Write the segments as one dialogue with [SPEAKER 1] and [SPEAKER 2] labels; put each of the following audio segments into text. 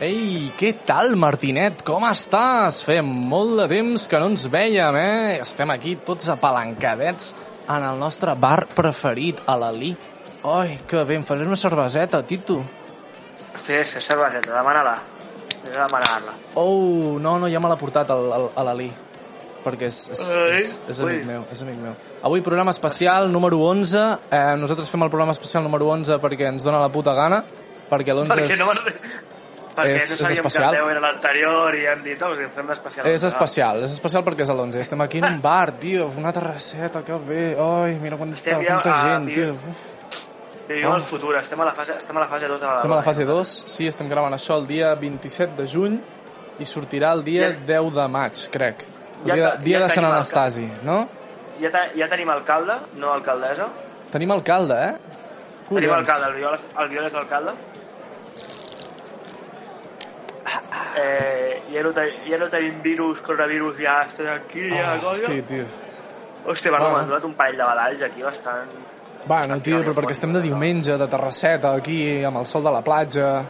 [SPEAKER 1] Què tal, Martinet? Com estàs? Fem molt de temps que no ens veiem, eh? Estem aquí tots apalancadets en el nostre bar preferit, a l'Alí. Ai, que bé, em faré una cerveseta, Tito.
[SPEAKER 2] Sí, sí, cerveseta, demana-la. He de demanar-la.
[SPEAKER 1] Oh, no, no, ja me l'ha portat el, el, a l'Alí. Perquè és, és,
[SPEAKER 2] Ai,
[SPEAKER 1] és, és amic
[SPEAKER 2] ui.
[SPEAKER 1] meu, és amic meu. Avui programa especial número 11. Eh, nosaltres fem el programa especial número 11 perquè ens dóna la puta gana. Perquè l'11
[SPEAKER 2] Perquè
[SPEAKER 1] és...
[SPEAKER 2] no, perquè
[SPEAKER 1] és-
[SPEAKER 2] no
[SPEAKER 1] és
[SPEAKER 2] sabíem que
[SPEAKER 1] especial.
[SPEAKER 2] el 10 era l'anterior i hem dit, oh, doncs fem l'especial.
[SPEAKER 1] És especial, és especial perquè és a l'11. Estem aquí en un bar, tio, una terrasseta, que bé. Ai, mira quanta,
[SPEAKER 2] Estem ja
[SPEAKER 1] quanta
[SPEAKER 2] a
[SPEAKER 1] gent,
[SPEAKER 2] vi-
[SPEAKER 1] tio. Uf.
[SPEAKER 2] Vivim
[SPEAKER 1] Oh.
[SPEAKER 2] al futur, estem a la fase, estem a la fase 2 de la
[SPEAKER 1] Estem a la fase 2, sí, estem gravant això el dia 27 de juny i sortirà el dia
[SPEAKER 2] Ja-
[SPEAKER 1] 10 de maig, crec. El
[SPEAKER 2] Ja
[SPEAKER 1] dia,
[SPEAKER 2] te-
[SPEAKER 1] dia
[SPEAKER 2] ja
[SPEAKER 1] de Sant
[SPEAKER 2] tenim el
[SPEAKER 1] Anastasi, no?
[SPEAKER 2] Ja, te, ja tenim alcalde, no alcaldessa.
[SPEAKER 1] Tenim alcalde, eh?
[SPEAKER 2] Tenim alcalde, el Viol, el Viol és l'alcalde. Eh, ja, no te, ja no tenim virus, coronavirus, ja està tranquil, ja,
[SPEAKER 1] Ah,
[SPEAKER 2] oh,
[SPEAKER 1] sí, tio.
[SPEAKER 2] Hòstia, perdó,
[SPEAKER 1] Bueno.
[SPEAKER 2] m'han donat un parell de balalls aquí bastant...
[SPEAKER 1] Bueno, tio, però perquè estem de diumenge, de terrasseta, aquí, amb el sol de la platja...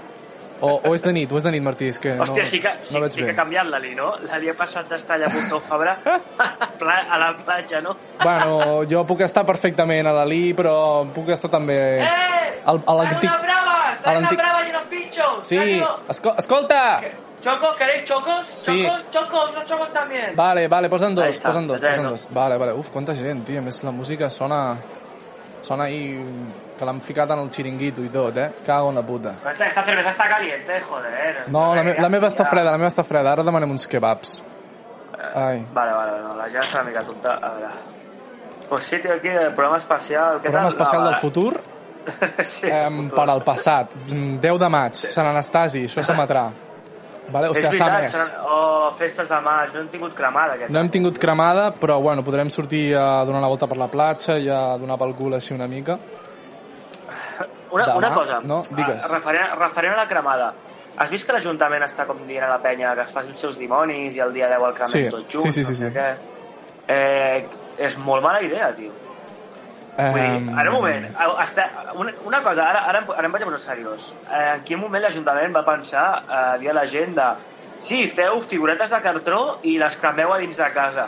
[SPEAKER 1] O, o és de nit, o és de nit, Martí, és que no,
[SPEAKER 2] Hòstia, sí que, sí,
[SPEAKER 1] no veig
[SPEAKER 2] sí que
[SPEAKER 1] bé.
[SPEAKER 2] ha canviat l'Ali, no? L'Ali ha passat d'estar allà a Pontó Fabra a pla- a la platja, no?
[SPEAKER 1] Bueno, jo puc estar perfectament a l'Alí, però puc estar també...
[SPEAKER 2] ¡Eh!
[SPEAKER 1] Al- a
[SPEAKER 2] ¡Dale
[SPEAKER 1] l'antic...
[SPEAKER 2] una brava! ¡Dale una
[SPEAKER 1] l'antic-
[SPEAKER 2] brava y unos pinchos!
[SPEAKER 1] Sí,
[SPEAKER 2] ¡Ánimo!
[SPEAKER 1] esco escolta!
[SPEAKER 2] ¿Chocos? ¿Queréis chocos?
[SPEAKER 1] Sí.
[SPEAKER 2] ¿Chocos? ¿Chocos? ¿No chocos también?
[SPEAKER 1] Vale, vale, posa'n
[SPEAKER 2] Ahí
[SPEAKER 1] dos,
[SPEAKER 2] está,
[SPEAKER 1] posa'n dos,
[SPEAKER 2] tres,
[SPEAKER 1] posa'n
[SPEAKER 2] no?
[SPEAKER 1] dos. Vale, vale, uf, quanta gent, tio, a més la música sona... Sona ahí que l'han ficat en el xiringuito i tot, eh? Cago en la puta.
[SPEAKER 2] Pues Esta, esta cerveza está caliente, joder.
[SPEAKER 1] No, la, me la meva està
[SPEAKER 2] Ya.
[SPEAKER 1] freda, la meva està freda, ara demanem uns kebabs. Ai.
[SPEAKER 2] Vale, vale, no, la ya está mica tonta. A ver. Pues sí, tío, aquí el programa espacial. ¿Qué
[SPEAKER 1] Programa
[SPEAKER 2] tal?
[SPEAKER 1] especial
[SPEAKER 2] La-
[SPEAKER 1] del futur
[SPEAKER 2] sí,
[SPEAKER 1] em,
[SPEAKER 2] futur.
[SPEAKER 1] per al passat. Mm, 10 de maig, Sant Anastasi, això s'emetrà. Vale? O
[SPEAKER 2] És
[SPEAKER 1] sigui, s'ha
[SPEAKER 2] veritat,
[SPEAKER 1] més.
[SPEAKER 2] seran- Oh, festes de maig, no hem tingut cremada aquest.
[SPEAKER 1] No hem tingut cremada, però bueno, podrem sortir a donar una volta per la platja i a donar pel cul així una mica.
[SPEAKER 2] Una,
[SPEAKER 1] Demà,
[SPEAKER 2] una cosa,
[SPEAKER 1] no? Digues.
[SPEAKER 2] Ah, Referent, referent a la cremada, has vist que l'Ajuntament està com dient a la penya que es facin els seus dimonis i el dia 10 el cremen
[SPEAKER 1] Sí,
[SPEAKER 2] tot junts?
[SPEAKER 1] sí, sí, sí,
[SPEAKER 2] no sé
[SPEAKER 1] sí.
[SPEAKER 2] Què. Eh, és molt mala idea, tio. Vull
[SPEAKER 1] Em,
[SPEAKER 2] dir, ara un moment, a- hasta, una, una cosa, ara, ara, em- ara em vaig a posar seriós. Eh, en quin moment l'Ajuntament va pensar a dir a la gent de sí, feu figuretes de cartró i les cremeu a dins de casa.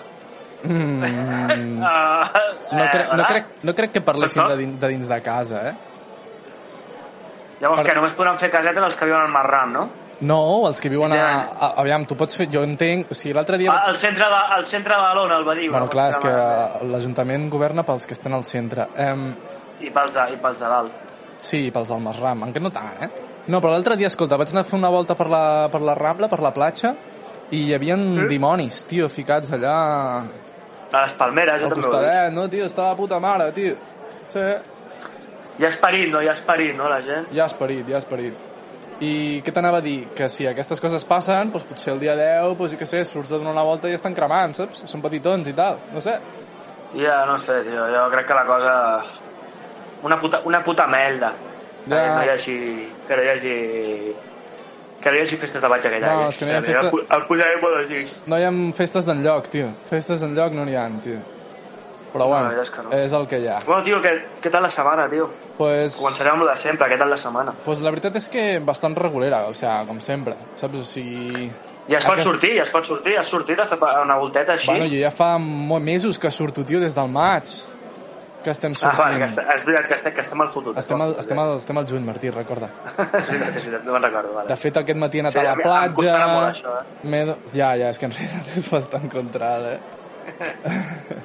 [SPEAKER 1] Mm,
[SPEAKER 2] Uh,
[SPEAKER 1] No, cre no, crec, no crec que parlessin
[SPEAKER 2] Però
[SPEAKER 1] de
[SPEAKER 2] no?
[SPEAKER 1] dins, de dins de casa, eh?
[SPEAKER 2] Llavors,
[SPEAKER 1] per-
[SPEAKER 2] que només podran fer casetes els que viuen al Marram, no?
[SPEAKER 1] No, els que viuen a...
[SPEAKER 2] Ja.
[SPEAKER 1] a aviam, tu pots fer... Jo entenc... O sigui, l'altre dia...
[SPEAKER 2] Ah,
[SPEAKER 1] Vaig...
[SPEAKER 2] al centre de, al centre de Badalona, el Badiu.
[SPEAKER 1] Bueno,
[SPEAKER 2] no?
[SPEAKER 1] clar, és que l'Ajuntament governa pels que estan al centre. Um,
[SPEAKER 2] I pels de, i pels de dalt.
[SPEAKER 1] sí, pels del Masram, encara no tant, eh? No, però l'altre dia, escolta, vaig anar a fer una volta per la, per la Rambla, per la platja, i hi havia
[SPEAKER 2] Mm?
[SPEAKER 1] eh? dimonis, tio, ficats allà
[SPEAKER 2] A les Palmeres, jo
[SPEAKER 1] al
[SPEAKER 2] també ho he vist.
[SPEAKER 1] costadet, no, tio? Estava puta mare, tio. Sí,
[SPEAKER 2] Ja és parit, no? Ja és parit, no, la gent?
[SPEAKER 1] ja has parit, ja has parit. I què t'anava a dir? Que si aquestes coses passen, doncs potser el dia 10, doncs jo què sé, surts a donar una volta i estan cremant, saps? Són petitons i tal, no sé.
[SPEAKER 2] Ja, no sé, tio, jo crec que la cosa... Una puta, una puta melda.
[SPEAKER 1] Ja.
[SPEAKER 2] Ja. Que no hi hagi... Que no hi hagi... Que no hi hagi festes de batxa aquell
[SPEAKER 1] No,
[SPEAKER 2] any.
[SPEAKER 1] és que no hi ha
[SPEAKER 2] Hòstia,
[SPEAKER 1] festa-
[SPEAKER 2] El, pu- el posaré molt als llits.
[SPEAKER 1] No hi ha festes d'enlloc, tio. Festes d'enlloc no n'hi ha, tio. Però
[SPEAKER 2] No,
[SPEAKER 1] bueno,
[SPEAKER 2] la veritat és que no.
[SPEAKER 1] és el que hi ha.
[SPEAKER 2] Bueno, tio, què, què tal la setmana, tio?
[SPEAKER 1] Pues,
[SPEAKER 2] Començarem amb lo de sempre, què tal la setmana?
[SPEAKER 1] pues la veritat és que bastant regulera, o sigui, com sempre, saps? O sigui...
[SPEAKER 2] Ja es pot
[SPEAKER 1] Aquest-
[SPEAKER 2] sortir, ja es pot sortir, has sortit a fer pa- una volteta així?
[SPEAKER 1] Bueno, jo ja fa mo- mesos que surto, tio, des del maig, que estem
[SPEAKER 2] Ah, vale,
[SPEAKER 1] sortint.
[SPEAKER 2] que, est- és veritat que estem, que estem al futur.
[SPEAKER 1] estem, al, estem, al, estem al juny, Martí, recorda.
[SPEAKER 2] És veritat, és veritat, no me'n recordo, vale.
[SPEAKER 1] De fet, aquest matí he anat
[SPEAKER 2] Sí,
[SPEAKER 1] a la
[SPEAKER 2] a mi- em
[SPEAKER 1] platja...
[SPEAKER 2] costarà molt, això, eh?
[SPEAKER 1] m'he do- Ja, ja, és que en realitat és bastant contral, eh?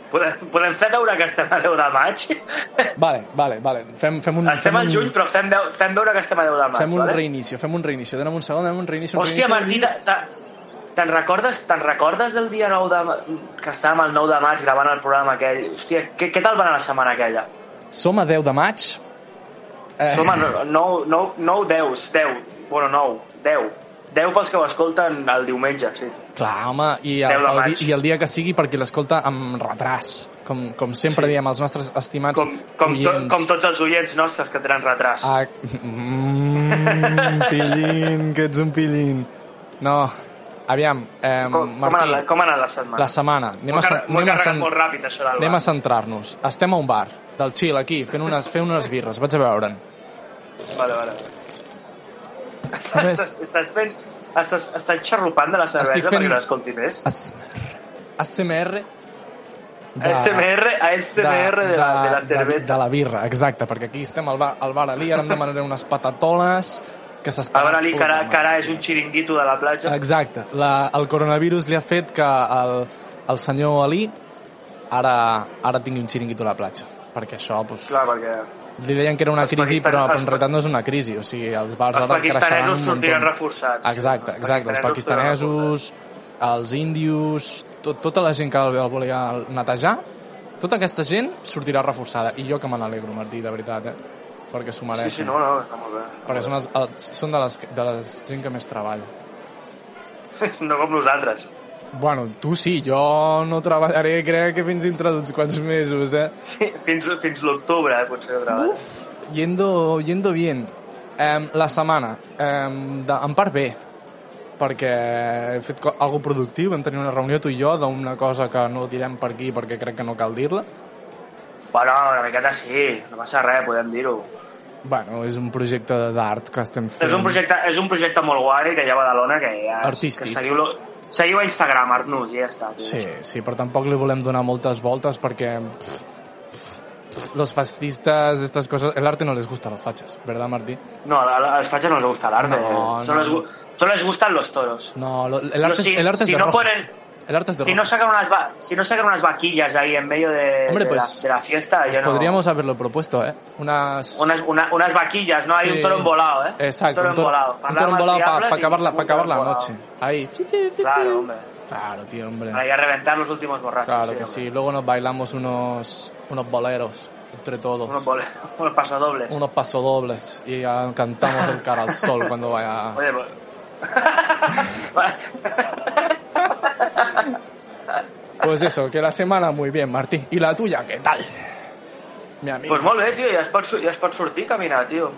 [SPEAKER 2] Podem, podem fer veure que estem a 10 de maig?
[SPEAKER 1] Vale, vale, vale. Fem, fem un...
[SPEAKER 2] Estem
[SPEAKER 1] fem
[SPEAKER 2] al
[SPEAKER 1] un-
[SPEAKER 2] juny, però fem, veu, fem veure que estem a 10 de maig,
[SPEAKER 1] Fem un
[SPEAKER 2] vale?
[SPEAKER 1] reinicio, fem un reinicio. Dóna'm un segon, dóna'm un reinicio. Un
[SPEAKER 2] Hòstia,
[SPEAKER 1] reinicio.
[SPEAKER 2] Martí, te- te- te'n recordes, te'n recordes el dia 9 de... ma- que estàvem el 9 de maig gravant el programa aquell? Hòstia, què, què tal va anar la setmana aquella?
[SPEAKER 1] Som a 10 de maig. Eh,
[SPEAKER 2] Som a 9, 9, 9 10, 10, bueno, 9, 10. 10 pels que ho escolten el diumenge, sí.
[SPEAKER 1] Clar, home, i
[SPEAKER 2] 10
[SPEAKER 1] el,
[SPEAKER 2] de
[SPEAKER 1] el,
[SPEAKER 2] maig.
[SPEAKER 1] di- i el dia que sigui perquè l'escolta amb retras, com, com sempre sí. diem els nostres estimats
[SPEAKER 2] Com, com, to,
[SPEAKER 1] oients.
[SPEAKER 2] com tots els oients nostres que tenen retras.
[SPEAKER 1] Ah, mm, pillin, que ets un pillin. No, aviam, eh,
[SPEAKER 2] com, com, ha
[SPEAKER 1] Martí,
[SPEAKER 2] anat, la- com ha anat la setmana?
[SPEAKER 1] la setmana. Anem
[SPEAKER 2] M'ho
[SPEAKER 1] a,
[SPEAKER 2] he
[SPEAKER 1] cen-
[SPEAKER 2] carregat- m'ho he
[SPEAKER 1] anem a,
[SPEAKER 2] carregat
[SPEAKER 1] cen-
[SPEAKER 2] molt ràpid, això del
[SPEAKER 1] anem a
[SPEAKER 2] bar.
[SPEAKER 1] centrar-nos. Estem a un bar, del Xil, aquí, fent unes, fent unes birres. Vaig a veure'n.
[SPEAKER 2] Vale, vale.
[SPEAKER 1] A
[SPEAKER 2] Estàs,
[SPEAKER 1] més-
[SPEAKER 2] estàs, estàs fent... Estàs, estàs xarrupant de la cervesa
[SPEAKER 1] Estic
[SPEAKER 2] fent...
[SPEAKER 1] fent-
[SPEAKER 2] perquè l'escolti més.
[SPEAKER 1] ASMR de,
[SPEAKER 2] ASMR, ASMR de, la, de
[SPEAKER 1] de,
[SPEAKER 2] la
[SPEAKER 1] de
[SPEAKER 2] cervesa.
[SPEAKER 1] la birra, exacte, perquè aquí estem al bar, al bar Alí, ara em demanaré unes patatoles que s'estan...
[SPEAKER 2] Ara li cara,
[SPEAKER 1] puta
[SPEAKER 2] cara
[SPEAKER 1] mare.
[SPEAKER 2] és un xiringuito de la platja.
[SPEAKER 1] Exacte, la, el coronavirus li ha fet que el, el senyor Alí ara, ara tingui un xiringuito a la platja, perquè això, doncs,
[SPEAKER 2] Clar, perquè
[SPEAKER 1] li deien que era una
[SPEAKER 2] Els
[SPEAKER 1] crisi, però,
[SPEAKER 2] pakistan-
[SPEAKER 1] però
[SPEAKER 2] els-
[SPEAKER 1] en realitat no és una crisi, o sigui, els bars
[SPEAKER 2] els
[SPEAKER 1] ara creixeran
[SPEAKER 2] pakistanesos
[SPEAKER 1] un
[SPEAKER 2] sortiran
[SPEAKER 1] muntó.
[SPEAKER 2] reforçats.
[SPEAKER 1] Exacte, exacte. Els pakistanesos, els índios, tot, tota la gent que el, el volia netejar, tota aquesta gent sortirà reforçada. I jo que me n'alegro, Martí, de veritat, eh? Perquè s'ho
[SPEAKER 2] Sí,
[SPEAKER 1] mereixen.
[SPEAKER 2] sí, no, no, està molt bé.
[SPEAKER 1] Perquè són, els, els, són de, les, de les gent que més treballa.
[SPEAKER 2] No com nosaltres.
[SPEAKER 1] Bueno, tu sí, jo no treballaré crec que fins dintre d'uns quants mesos, eh?
[SPEAKER 2] Fins, fins l'octubre, eh, potser, de treball. Uf.
[SPEAKER 1] Yendo, yendo bien. Um, la setmana, um, de, en part bé, perquè he fet co- algo productiu, vam tenir una reunió tu i jo d'una cosa que no direm per aquí perquè crec que no cal dir-la.
[SPEAKER 2] Bueno, una miqueta sí, no passa res, podem dir-ho.
[SPEAKER 1] Bueno, és un projecte d'art que estem fent.
[SPEAKER 2] És un, projecte, és un projecte molt guai que hi ha a Badalona, que ja...
[SPEAKER 1] Artístic.
[SPEAKER 2] Que seguiu, lo, seguiu a Instagram, Arnús, i ja està. tio.
[SPEAKER 1] Sí, sí, però tampoc li volem donar moltes voltes perquè... Pff, pff, los fascistas, estas cosas... El arte no les gusta a los fachas, ¿verdad, Martí?
[SPEAKER 2] No, a- a- als fachas no els gusta l'arte.
[SPEAKER 1] No,
[SPEAKER 2] eh.
[SPEAKER 1] no.
[SPEAKER 2] solo, les, gu- solo les gustan los toros.
[SPEAKER 1] No, lo- el arte,
[SPEAKER 2] si-
[SPEAKER 1] es, el arte
[SPEAKER 2] si
[SPEAKER 1] es de
[SPEAKER 2] no
[SPEAKER 1] rojos.
[SPEAKER 2] ponen-
[SPEAKER 1] El arte es de
[SPEAKER 2] Si no,
[SPEAKER 1] rojos.
[SPEAKER 2] sacan unas va- si no sacan unas vaquillas ahí en medio de,
[SPEAKER 1] Hombre,
[SPEAKER 2] de
[SPEAKER 1] pues,
[SPEAKER 2] la, de la fiesta, yo no...
[SPEAKER 1] Podríamos haberlo propuesto, ¿eh? Unas...
[SPEAKER 2] Unas, una- unas vaquillas, ¿no? Hay
[SPEAKER 1] Sí.
[SPEAKER 2] un toro embolado, ¿eh?
[SPEAKER 1] Exacto,
[SPEAKER 2] un toro embolado.
[SPEAKER 1] un toro embolado para acabar la, pa' acabar la noche. Ahí.
[SPEAKER 2] Claro, hombre.
[SPEAKER 1] Claro, tío, hombre.
[SPEAKER 2] Para ir a reventar los últimos borrachos.
[SPEAKER 1] Claro que sí.
[SPEAKER 2] hombre.
[SPEAKER 1] Luego nos bailamos unos, unos boleros entre
[SPEAKER 2] Unos,
[SPEAKER 1] todos.
[SPEAKER 2] bol- unos pasodobles.
[SPEAKER 1] Unos pasodobles y ah, cantamos el cara al sol cuando vaya.
[SPEAKER 2] Oye, pues-
[SPEAKER 1] Pues eso, que la semana muy bien, Martí. ¿Y la tuya qué tal? Mi amigo.
[SPEAKER 2] pues molt bé, tio, ja es pot, su- ja es pot sortir a caminar, tio.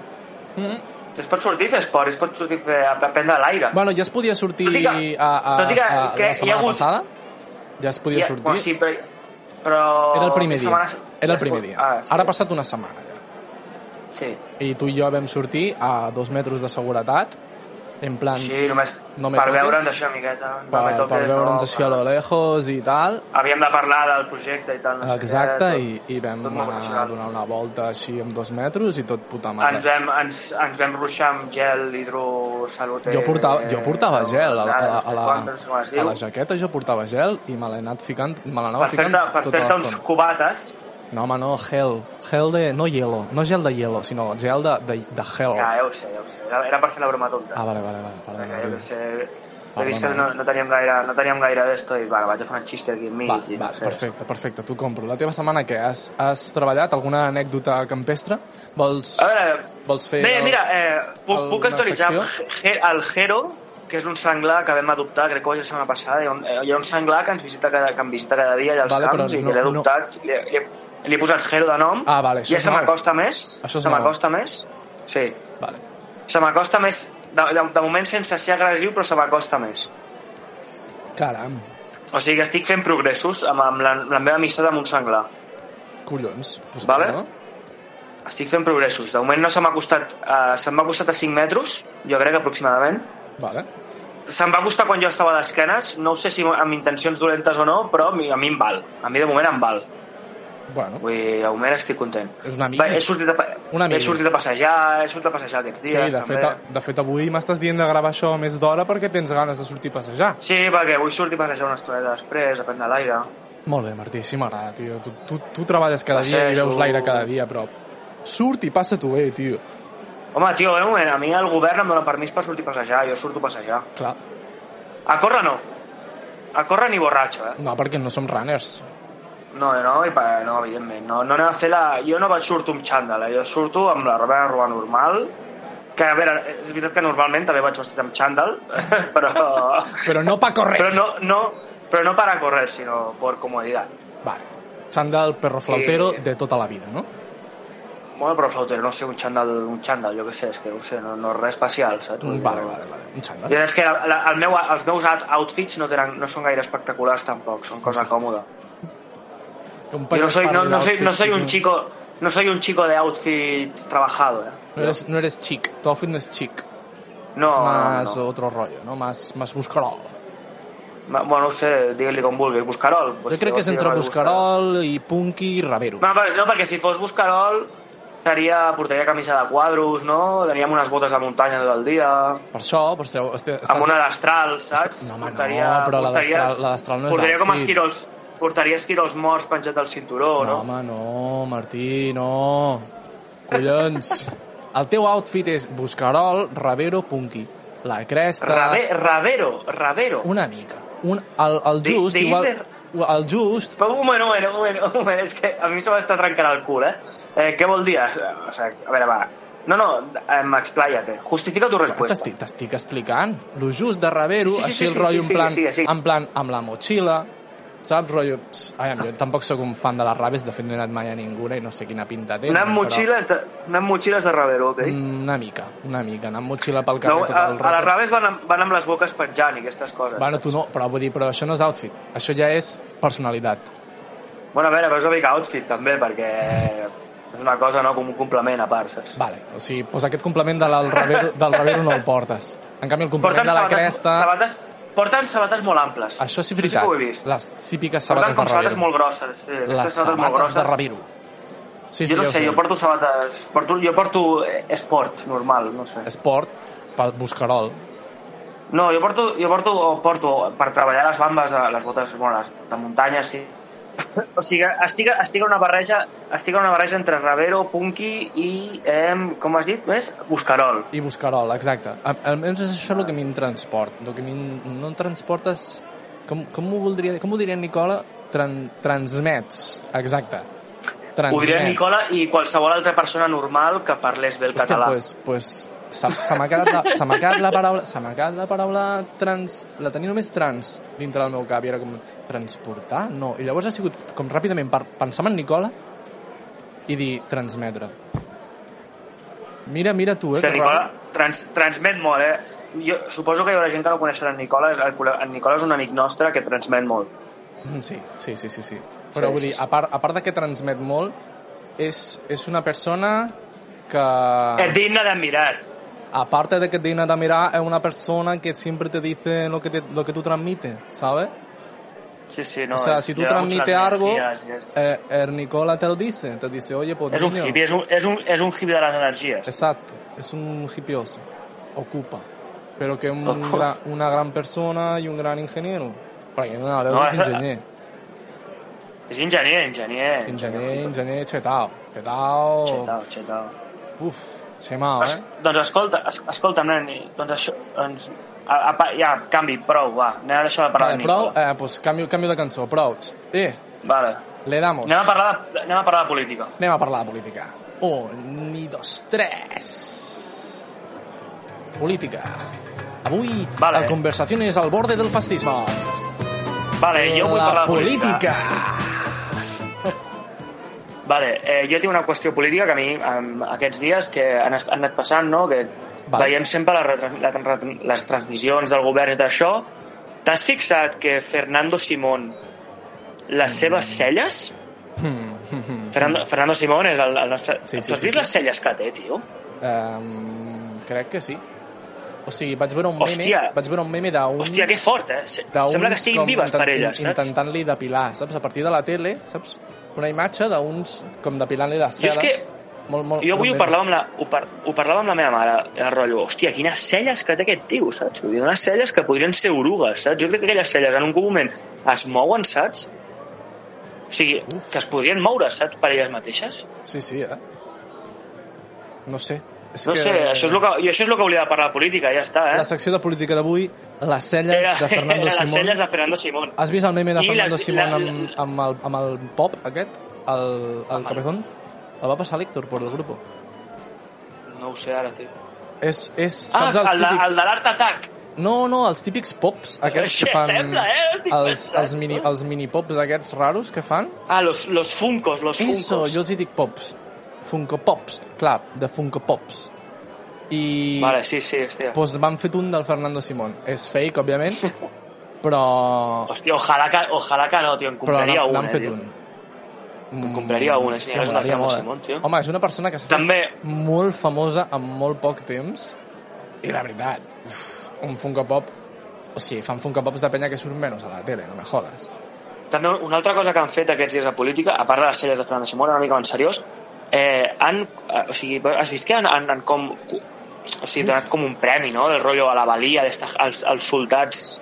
[SPEAKER 2] Pues
[SPEAKER 1] Mm.
[SPEAKER 2] Es pot sortir a fer esport, es pot sortir a, fer, a prendre l'aire.
[SPEAKER 1] Bueno, ja es podia sortir
[SPEAKER 2] Tot i que-
[SPEAKER 1] a, a,
[SPEAKER 2] tot i que-
[SPEAKER 1] a,
[SPEAKER 2] que hi
[SPEAKER 1] la
[SPEAKER 2] ha
[SPEAKER 1] setmana
[SPEAKER 2] hagut-
[SPEAKER 1] passada. Ja es podia
[SPEAKER 2] Ja,
[SPEAKER 1] sortir.
[SPEAKER 2] bueno, sí, però, però...
[SPEAKER 1] Era el primer dia.
[SPEAKER 2] setmana-
[SPEAKER 1] Era el primer dia.
[SPEAKER 2] Ah, sí.
[SPEAKER 1] Ara ha passat una setmana ja.
[SPEAKER 2] Sí.
[SPEAKER 1] i tu i jo vam sortir a dos metres de seguretat en plan
[SPEAKER 2] Sí, només
[SPEAKER 1] no me
[SPEAKER 2] per
[SPEAKER 1] toques,
[SPEAKER 2] veure'ns això una miqueta. No
[SPEAKER 1] per,
[SPEAKER 2] me toques,
[SPEAKER 1] per veure'ns
[SPEAKER 2] no, ah.
[SPEAKER 1] així a lo lejos i tal
[SPEAKER 2] Havíem de parlar del projecte i tal. No
[SPEAKER 1] exacte
[SPEAKER 2] sé,
[SPEAKER 1] i,
[SPEAKER 2] què, tot-
[SPEAKER 1] i vam
[SPEAKER 2] tot molt
[SPEAKER 1] anar a
[SPEAKER 2] professional.
[SPEAKER 1] donar una volta així amb dos metres i tot puta
[SPEAKER 2] Ens
[SPEAKER 1] mare
[SPEAKER 2] vam, ens, ens vam ruixar amb gel hidrosalute.
[SPEAKER 1] jo portava, jo portava gel a, la- a, la- a,
[SPEAKER 2] Quantes,
[SPEAKER 1] la,
[SPEAKER 2] no sé com es diu.
[SPEAKER 1] a la jaqueta jo portava gel i me l'he anat ficant me l'anava
[SPEAKER 2] Per
[SPEAKER 1] ficant
[SPEAKER 2] fer-te per
[SPEAKER 1] tota
[SPEAKER 2] fer-te uns
[SPEAKER 1] l'estona
[SPEAKER 2] cubates,
[SPEAKER 1] no home no, gel, gel de, no hielo no gel de hielo, sinó gel de, de, de gel
[SPEAKER 2] ja, ja ho sé, ja ho sé. Era, era per fer la broma tonta.
[SPEAKER 1] ah vale, vale, vale,
[SPEAKER 2] Ah,
[SPEAKER 1] perdona,
[SPEAKER 2] ja,
[SPEAKER 1] Martí.
[SPEAKER 2] jo sé, he
[SPEAKER 1] Perdona,
[SPEAKER 2] vist que
[SPEAKER 1] eh.
[SPEAKER 2] no, no teníem gaire, no teníem gaire d'esto i va, vaig a fer un xiste aquí enmig.
[SPEAKER 1] Va,
[SPEAKER 2] i no
[SPEAKER 1] va,
[SPEAKER 2] sé.
[SPEAKER 1] perfecte, perfecte, t'ho compro. La teva setmana què? Has, has treballat alguna anècdota campestre? Vols,
[SPEAKER 2] A veure,
[SPEAKER 1] vols fer...
[SPEAKER 2] Bé,
[SPEAKER 1] el-
[SPEAKER 2] mira, eh, puc,
[SPEAKER 1] el-
[SPEAKER 2] puc
[SPEAKER 1] la
[SPEAKER 2] actualitzar
[SPEAKER 1] secció?
[SPEAKER 2] Ge- el Jero, que és un senglar que vam adoptar, crec que ho vaig dir la setmana passada, hi ha un, eh, hi ha un senglar que ens visita cada, que em visita cada dia allà als
[SPEAKER 1] Vale,
[SPEAKER 2] vale,
[SPEAKER 1] però
[SPEAKER 2] camps i
[SPEAKER 1] no-
[SPEAKER 2] que l'he adoptat, no. li, li, li, he posat Jero de nom,
[SPEAKER 1] Ah, vale, això
[SPEAKER 2] ja
[SPEAKER 1] és
[SPEAKER 2] se
[SPEAKER 1] nou.
[SPEAKER 2] m'acosta més,
[SPEAKER 1] Això és
[SPEAKER 2] se
[SPEAKER 1] nou.
[SPEAKER 2] m'acosta més, sí,
[SPEAKER 1] Vale.
[SPEAKER 2] se m'acosta més, de, de, de moment sense ser agressiu, però se m'acosta més.
[SPEAKER 1] Caram,
[SPEAKER 2] O sigui que estic fent progressos amb, amb, la, amb la meva amistat amb un senglar.
[SPEAKER 1] collons. Pues,
[SPEAKER 2] Vale.
[SPEAKER 1] No?
[SPEAKER 2] Estic fent progressos. De moment no se m'ha costat... Eh, se m'ha costat a 5 metres, jo crec, aproximadament.
[SPEAKER 1] Vale.
[SPEAKER 2] Se'm va gustar quan jo estava d'esquenes, no ho sé si amb intencions dolentes o no, però a mi, a mi em val. A mi de moment em val.
[SPEAKER 1] Bueno,
[SPEAKER 2] Vull dir, de moment estic content.
[SPEAKER 1] és una mica...
[SPEAKER 2] Va, he, sortit a, pa-
[SPEAKER 1] Una
[SPEAKER 2] he
[SPEAKER 1] mica.
[SPEAKER 2] sortit a passejar, he sortit a passejar aquests
[SPEAKER 1] Sí,
[SPEAKER 2] dies,
[SPEAKER 1] de
[SPEAKER 2] també.
[SPEAKER 1] fet, de fet avui m'estàs dient de gravar això a més d'hora perquè tens ganes de sortir a passejar.
[SPEAKER 2] Sí, perquè vull sortir a passejar una estoneta després, a prendre l'aire.
[SPEAKER 1] Molt bé, Martí, així m'agrada, tio. Tu, tu, tu treballes cada dia i
[SPEAKER 2] Passejo.
[SPEAKER 1] veus l'aire cada dia, però surt i passa-t'ho bé, tio.
[SPEAKER 2] Home, tio, de moment, a mi el govern em dona permís per sortir a passejar, jo surto a passejar.
[SPEAKER 1] Clar,
[SPEAKER 2] A córrer no. A córrer ni borratxo, eh?
[SPEAKER 1] no, perquè no som runners.
[SPEAKER 2] No, no, i pa, no, evidentment. No, no anem a fer la... Jo no vaig surto amb xandall, eh? jo surto amb la roba, roba normal, que a veure, és veritat que normalment també vaig vestit amb xandall, però,
[SPEAKER 1] Però no pa correr.
[SPEAKER 2] però no, no, però no para correr, sinó por comodidad.
[SPEAKER 1] Vale. Xandall perro flautero
[SPEAKER 2] Eh.
[SPEAKER 1] de tota la vida, no?
[SPEAKER 2] Bueno, però flautero, no sé, un xandall, un xandall, jo què sé, és que no sé, no, no res especial, saps? Vull dir,
[SPEAKER 1] Vale,
[SPEAKER 2] no.
[SPEAKER 1] vale, vale. Un
[SPEAKER 2] I
[SPEAKER 1] xandall.
[SPEAKER 2] és que la, el meu, els meus out- outfits no, tenen, no són gaire espectaculars tampoc, són cosa còmoda. Jo no soy, no, no, soy, no soy un chico, no soy un chico de outfit trabajado, eh?
[SPEAKER 1] No eres, no eres chic. Tu outfit no és chic.
[SPEAKER 2] No,
[SPEAKER 1] es
[SPEAKER 2] no,
[SPEAKER 1] más
[SPEAKER 2] no.
[SPEAKER 1] otro rollo, ¿no? Más, más buscarol.
[SPEAKER 2] Ma- Bueno, no sé, digue-li com vulguis. Buscarol.
[SPEAKER 1] Jo crec que és entre Buscarol i Punky i Ravero.
[SPEAKER 2] No, però, no, perquè si fos Buscarol seria, portaria camisa de quadros, no? Teníem unes botes de muntanya tot el dia,
[SPEAKER 1] Per això, per això... Este,
[SPEAKER 2] amb una destral, saps?
[SPEAKER 1] No, home, no, però la destral- la destral no és
[SPEAKER 2] Portaria com
[SPEAKER 1] outfit.
[SPEAKER 2] esquirols, portaria esquirols morts penjat al cinturó,
[SPEAKER 1] no,
[SPEAKER 2] no?
[SPEAKER 1] home, no, Martí, no. Collons. El teu outfit és Buscarol, Ravero, Punky. La cresta...
[SPEAKER 2] Rabe, Ravero, Ravero.
[SPEAKER 1] Una mica. Un, el, el
[SPEAKER 2] Di-
[SPEAKER 1] just,
[SPEAKER 2] diguis
[SPEAKER 1] igual...
[SPEAKER 2] de-
[SPEAKER 1] El just...
[SPEAKER 2] Però un moment, un moment, un moment, un moment, és que a mi se m'està trencant el cul, eh? eh què vol dir? O sigui, a veure, va. No, no, eh, expláyate. Justifica tu resposta.
[SPEAKER 1] T'estic t'estic explicant. Lo just de Ravero,
[SPEAKER 2] Sí, sí,
[SPEAKER 1] així
[SPEAKER 2] sí,
[SPEAKER 1] el
[SPEAKER 2] sí,
[SPEAKER 1] rotllo
[SPEAKER 2] sí,
[SPEAKER 1] en, plan,
[SPEAKER 2] sí, sí, sí.
[SPEAKER 1] en plan amb la motxilla, saps? Rotllo... Pss, ai, jo tampoc sóc un fan de les raves, de fet no he anat mai a ninguna i no sé quina pinta té.
[SPEAKER 2] Anar amb motxilles de, anar amb motxilles de Ravero, ok?
[SPEAKER 1] Mm, Una mica, una mica. Anar amb motxilla pel
[SPEAKER 2] No,
[SPEAKER 1] carrer tot
[SPEAKER 2] a,
[SPEAKER 1] el
[SPEAKER 2] a les
[SPEAKER 1] rato.
[SPEAKER 2] raves van amb, van amb les boques penjant i aquestes coses.
[SPEAKER 1] Bueno, tu no, però vull dir, però això no és outfit. Això ja és personalitat.
[SPEAKER 2] Bueno, a veure, però és una mica outfit també, perquè és una cosa, no?, com un complement a part, saps?
[SPEAKER 1] Vale, o sigui, doncs aquest complement de la- del Ravero, del Ravero no el portes. En canvi, el complement
[SPEAKER 2] Porten
[SPEAKER 1] de la
[SPEAKER 2] sabates,
[SPEAKER 1] cresta...
[SPEAKER 2] sabates, porten sabates molt amples.
[SPEAKER 1] Això sí,
[SPEAKER 2] Això sí
[SPEAKER 1] veritat.
[SPEAKER 2] que ho he vist.
[SPEAKER 1] Les típiques
[SPEAKER 2] Porten
[SPEAKER 1] sabates de
[SPEAKER 2] com sabates
[SPEAKER 1] Ravero.
[SPEAKER 2] molt grosses. Sí, aquestes
[SPEAKER 1] Les
[SPEAKER 2] sabates molt
[SPEAKER 1] sabates de
[SPEAKER 2] grosses.
[SPEAKER 1] Ravero. Sí,
[SPEAKER 2] jo no
[SPEAKER 1] ja ho
[SPEAKER 2] sé, jo porto sabates... Porto, jo porto eh, esport, normal, no sé.
[SPEAKER 1] Esport, pel Buscarol.
[SPEAKER 2] No, jo porto, jo porto, o porto per treballar les bambes, de, les botes bueno, les, de muntanya, sí. O sigui, estic, estic, en una barreja, estic en una barreja entre Ravero, Punky i, eh, com has dit, més? Buscarol.
[SPEAKER 1] I Buscarol, exacte. Al- Almenys és això el que a mi em transport. El que a mi no em transportes... Com, com, ho voldria, com ho diria en Nicola? Tran, transmets, exacte. Transmets.
[SPEAKER 2] Ho diria en Nicola i qualsevol altra persona normal que parlés bé el
[SPEAKER 1] Hòstia,
[SPEAKER 2] català.
[SPEAKER 1] pues, pues, se, se m'ha quedat, la- se m'ha quedat la paraula... Se m'ha quedat la paraula trans... La tenia només trans dintre del meu cap i era com... Transportar? No. I llavors ha sigut com ràpidament per pensar en Nicola i dir transmetre. Mira, mira tu, eh?
[SPEAKER 2] Hòstia,
[SPEAKER 1] que
[SPEAKER 2] Nicola trans, transmet molt, eh? Jo suposo que hi haurà gent que no coneixerà en Nicola. és- En Nicola és un amic nostre que transmet molt.
[SPEAKER 1] Sí, sí, sí, sí, sí. Però
[SPEAKER 2] Sí,
[SPEAKER 1] vull
[SPEAKER 2] sí,
[SPEAKER 1] dir,
[SPEAKER 2] sí.
[SPEAKER 1] a part, a part de que transmet molt, és, és una persona que... Ah.
[SPEAKER 2] És digne d'admirar.
[SPEAKER 1] Aparte de que digna de mirar, es una persona que siempre te dice lo que, te- lo que tú transmites, ¿sabes?
[SPEAKER 2] Sí, sí, no.
[SPEAKER 1] o sea,
[SPEAKER 2] és-
[SPEAKER 1] si tú
[SPEAKER 2] hi ha moltes
[SPEAKER 1] transmites algo,
[SPEAKER 2] energies i és-
[SPEAKER 1] eh, el Nicola te lo dice, te dice, oye, pues
[SPEAKER 2] És un
[SPEAKER 1] niño".
[SPEAKER 2] hippie, és un, és un, és un hippie de les energies.
[SPEAKER 1] Exacto, es un hipioso, ocupa, pero que es un
[SPEAKER 2] Ocupa.
[SPEAKER 1] gran- una gran persona y un gran ingeniero. Porque no, no,
[SPEAKER 2] No,
[SPEAKER 1] es
[SPEAKER 2] esa-
[SPEAKER 1] ingeniero,
[SPEAKER 2] És enginyer, enginyer.
[SPEAKER 1] ingeniero, ingeniero, chetao, chetao,
[SPEAKER 2] Xetau, xetau.
[SPEAKER 1] uf, chemao,
[SPEAKER 2] Es,
[SPEAKER 1] eh.
[SPEAKER 2] doncs escolta, es, escolta, nen, i- doncs això, doncs, a, a, pa- ja, canvi, prou, va, anem a deixar de parlar
[SPEAKER 1] Vale,
[SPEAKER 2] de
[SPEAKER 1] prou,
[SPEAKER 2] Nicola.
[SPEAKER 1] eh, pues cambio, cambio de cançó, prou. Txt, Eh,
[SPEAKER 2] Vale.
[SPEAKER 1] le damos.
[SPEAKER 2] Anem a, parlar de, anem a parlar de política.
[SPEAKER 1] Anem a parlar de política. Un, i dos, tres. Política. Avui,
[SPEAKER 2] Vale.
[SPEAKER 1] la conversació és al borde del fascisme.
[SPEAKER 2] Vale, Eh, jo vull
[SPEAKER 1] Eh, la
[SPEAKER 2] parlar de política.
[SPEAKER 1] política.
[SPEAKER 2] Vale, eh, jo tinc una qüestió política que a mi, em, aquests dies que han, est- han anat passant, no?, que
[SPEAKER 1] Vale.
[SPEAKER 2] veiem sempre la, retrans- la, tran- les transmissions del govern i d'això, t'has fixat que Fernando Simón,
[SPEAKER 1] Mm.
[SPEAKER 2] les seves celles,
[SPEAKER 1] Hmm.
[SPEAKER 2] Fernando, Fernando Simón és el, el nostre...
[SPEAKER 1] Sí, sí,
[SPEAKER 2] Sí, sí, tu has
[SPEAKER 1] sí,
[SPEAKER 2] vist
[SPEAKER 1] sí.
[SPEAKER 2] les celles que té, tio?
[SPEAKER 1] um, crec que sí. O sigui, vaig veure un meme,
[SPEAKER 2] Hòstia.
[SPEAKER 1] vaig veure un meme d'un...
[SPEAKER 2] Hòstia, que fort, eh? Se-
[SPEAKER 1] d'uns
[SPEAKER 2] Sembla que estiguin
[SPEAKER 1] com
[SPEAKER 2] vives
[SPEAKER 1] intent-
[SPEAKER 2] per elles, saps?
[SPEAKER 1] Intentant-li depilar, saps? A partir de la tele, saps? Una imatge d'uns com depilant-li les
[SPEAKER 2] Jo és
[SPEAKER 1] cel·les.
[SPEAKER 2] que-
[SPEAKER 1] Molt, molt,
[SPEAKER 2] Jo avui
[SPEAKER 1] molt
[SPEAKER 2] ho
[SPEAKER 1] bé.
[SPEAKER 2] parlava, amb la, ho, par ho parlava amb la meva mare, el rotllo, hòstia, quines celles que té aquest tio, saps? Vull dir, unes celles que podrien ser orugues, saps? Jo crec que aquelles celles en un moment es mouen, saps? O sigui,
[SPEAKER 1] Uf.
[SPEAKER 2] que es podrien moure, saps, per elles mateixes?
[SPEAKER 1] Sí, sí, eh? No sé. És
[SPEAKER 2] No
[SPEAKER 1] que...
[SPEAKER 2] sé, això és el que, i això és el que volia parlar de política, ja està,
[SPEAKER 1] La
[SPEAKER 2] eh?
[SPEAKER 1] secció de política d'avui, les celles
[SPEAKER 2] Era-
[SPEAKER 1] de Fernando
[SPEAKER 2] era les
[SPEAKER 1] Simón.
[SPEAKER 2] celles de Fernando Simón.
[SPEAKER 1] Has vist el meme de
[SPEAKER 2] I
[SPEAKER 1] Fernando
[SPEAKER 2] les-
[SPEAKER 1] Simón
[SPEAKER 2] la- Ah.
[SPEAKER 1] amb, amb, el, amb el pop aquest? El, el cabezón? El va passar l'Héctor per el grup.
[SPEAKER 2] No ho sé ara, tio.
[SPEAKER 1] És, és,
[SPEAKER 2] Ah,
[SPEAKER 1] saps els
[SPEAKER 2] el, de,
[SPEAKER 1] típics...
[SPEAKER 2] el de l'Art Attack.
[SPEAKER 1] No, no, els típics pops aquests
[SPEAKER 2] Això
[SPEAKER 1] que fan...
[SPEAKER 2] sembla, eh? Estic
[SPEAKER 1] Els,
[SPEAKER 2] pensant,
[SPEAKER 1] els, mini,
[SPEAKER 2] no?
[SPEAKER 1] els mini pops aquests raros que fan.
[SPEAKER 2] Ah, los, los funcos, los
[SPEAKER 1] Eso,
[SPEAKER 2] funcos.
[SPEAKER 1] jo els hi dic pops. Funko Pops, clar, de Funko Pops. I...
[SPEAKER 2] Vale, sí, sí, hòstia.
[SPEAKER 1] pues van Doncs fet un del Fernando Simón. És fake, òbviament, però...
[SPEAKER 2] Hòstia, ojalà que, ojalà que no, tio, en
[SPEAKER 1] però
[SPEAKER 2] compraria
[SPEAKER 1] n'han-
[SPEAKER 2] un,
[SPEAKER 1] n'han
[SPEAKER 2] eh,
[SPEAKER 1] fet
[SPEAKER 2] tio.
[SPEAKER 1] un. Mm,
[SPEAKER 2] En compraria un, eh, si
[SPEAKER 1] Hòstia,
[SPEAKER 2] hagués un
[SPEAKER 1] m'agradaria
[SPEAKER 2] Fernando
[SPEAKER 1] molt, eh?
[SPEAKER 2] Simón, tio.
[SPEAKER 1] Home, és una persona que s'ha fet
[SPEAKER 2] També,
[SPEAKER 1] molt famosa en molt poc temps I la veritat, uf, un Funko Pop... O sigui, fan Funko Pops de penya que surt menys a la tele, no me jodes.
[SPEAKER 2] També una altra cosa que han fet aquests dies de política, a part de les celles de Fernando Simón, una mica més seriós, eh, han, eh, o sigui, has vist que han, han, han com, o sigui, donat com un premi, no?, del rotllo a la valia, d'esta- als, als soldats